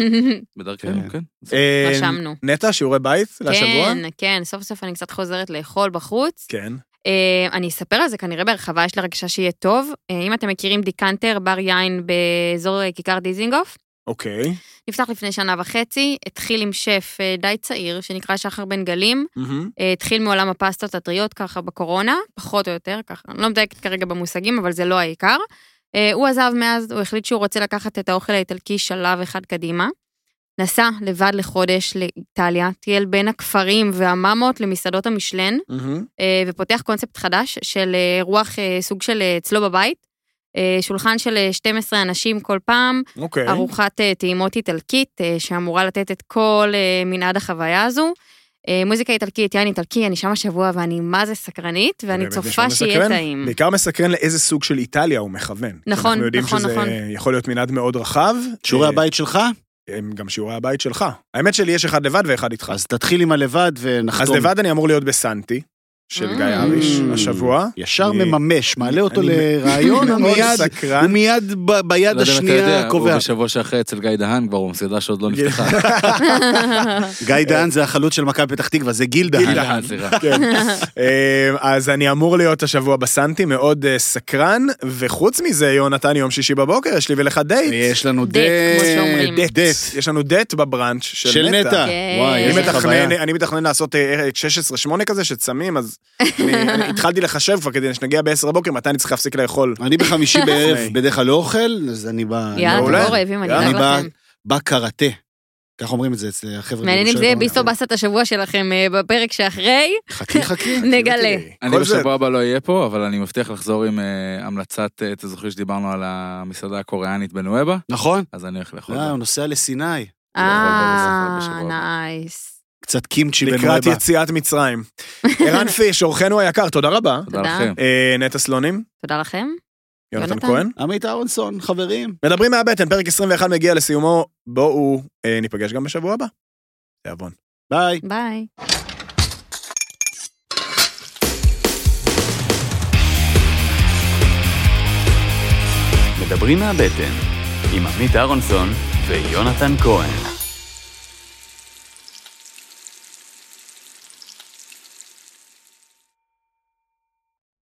E: בדרכנו,
B: כן.
E: כן.
A: אה,
D: רשמנו.
A: נטע, שיעורי בית לשבוע?
D: כן, כן, סוף סוף אני קצת חוזרת לאכול בחוץ.
A: כן.
D: אה, אני אספר על זה כנראה בהרחבה, יש לי הרגשה שיהיה טוב. אה, אם אתם מכירים דיקנטר, בר יין באזור אה, כיכר דיזינגוף,
A: אוקיי.
D: נפתח לפני שנה וחצי, התחיל עם שף אה, די צעיר, שנקרא שחר בן גלים,
A: מהמם.
D: אה, התחיל מעולם הפסטות הטריות ככה בקורונה, פחות או יותר, ככה, אני לא מדייקת כרגע במושגים, אבל זה לא העיקר. אה, הוא עזב מאז, הוא החליט שהוא רוצה לקחת את האוכל האיטלקי שלב אחד קדימה. נסע לבד לחודש לאיטליה, טייל בין הכפרים והממות למסעדות המשלן,
A: מהמם.
D: אה, ופותח קונספט חדש של אה, רוח אה, סוג של אה, אצלו בבית. אה, שולחן של אה, 12 אנשים כל פעם,
A: אוקיי.
D: ארוחת אה, טעימות איטלקית אה, שאמורה לתת את כל אה, מנעד החוויה הזו. אה, מוזיקה איטלקית, יין איטלקי, אני שם השבוע ואני מה זה סקרנית, ואני
A: באמת נשמע
D: צופה שיהיה
A: מסקרן.
D: טעים.
A: בעיקר מסקרן לאיזה סוג של איטליה הוא מכוון. כי
D: נכון,
A: אנחנו יודעים
D: נכון,
A: שזה
D: נכון.
A: יכול להיות מנעד מאוד רחב.
B: שיעורי
A: אה,
B: הבית שלך?
A: הם גם שיעורי הבית שלך. האמת שלי יש אחד לבד ואחד איתך.
B: אז תתחיל עם הלבד
A: אז
B: ונחתום.
A: לבד אני אמור להיות בסנטי, של גיא אריש
B: Mm.
A: השבוע.
B: ישר
A: אני-
B: מממש, מעלה אותו
A: אני
B: לרעיון,
A: מאוד
B: ומיד-
A: סקרן.
B: ומיד ב- ביד
E: לא יודע אם אתה יודע,
B: השנייה
E: הוא
B: קובע.
E: בשבוע שאחרי אצל גיא דהן כבר הוא מסעדה שעוד לא נפתחה.
B: גיא דהן זה החלוץ של מכבי פתח תקווה, זה גיל
E: גיל
B: דהן.
E: דהן, סליחה.
A: כן. אה, אז אני אמור להיות השבוע בסנטי, מאוד אה, סקרן, וחוץ מזה, יונתן, יום שישי בבוקר, יש לי ולך דייט.
B: יש לנו
D: דייט, כמו שאומרים.
B: דט. דט.
A: יש לנו דייט בבראנץ'
B: של נטע.
D: כן.
B: וואי,
A: אני
B: איזה חוויה.
A: מתכנן, אני מתכנן לעשות אה, אה, 16-8 כזה שצמים, אז אני- אני התחלתי לחשב כבר כדי שנגיע ב-10 בבוקר, מתי אני צריך להפסיק לאכול.
B: אני בחמישי
A: אוקיי.
B: בערב בדרך כלל לא אוכל, אז אני בא...
D: יאללה,
B: אני
D: אתם
A: מעולה.
D: לא רעבים, אני
A: יאללה.
D: אוהב
B: אני בא-
D: לכם.
B: בא קראטה. כך אומרים את זה אצל החבר'ה.
D: מעניין אם
B: בירושלים.
D: זה יהיה ביסו באסת השבוע שלכם אה, בפרק שאחרי.
B: חכי, חכי.
D: נגלה.
E: אני
A: כל זה-
E: בשבוע הבא לא אהיה פה, אבל אני מבטיח לחזור עם אה, המלצת, אה, אתם זוכרים שדיברנו על המסעדה הקוריאנית בנואבה,
B: נכון?
E: אז אני הולך לאכול.
B: אה, הוא נוסע לסיני.
E: יכול
D: אה,
E: להיות בשבוע הבא.
D: נייס.
B: קצת קימצ'י
A: לקראת
B: בנואבה.
A: יציאת מצרים. ערן פיש, אורחנו היקר, תודה רבה.
E: תודה
D: תודה.
E: לכם.
A: אה, נטע סלונים,
D: תודה לכם.
A: יונתן
D: יונתן.
A: כהן.
B: עמית אהרונסון, חברים.
A: מדברים מהבטן, פרק 21 מגיע לסיומו, בואו אה, ניפגש גם בשבוע הבא. תיאבון.
B: ביי.
D: ביי.
C: מדברים מהבטן, עם עמית אהרונסון ויונתן כהן.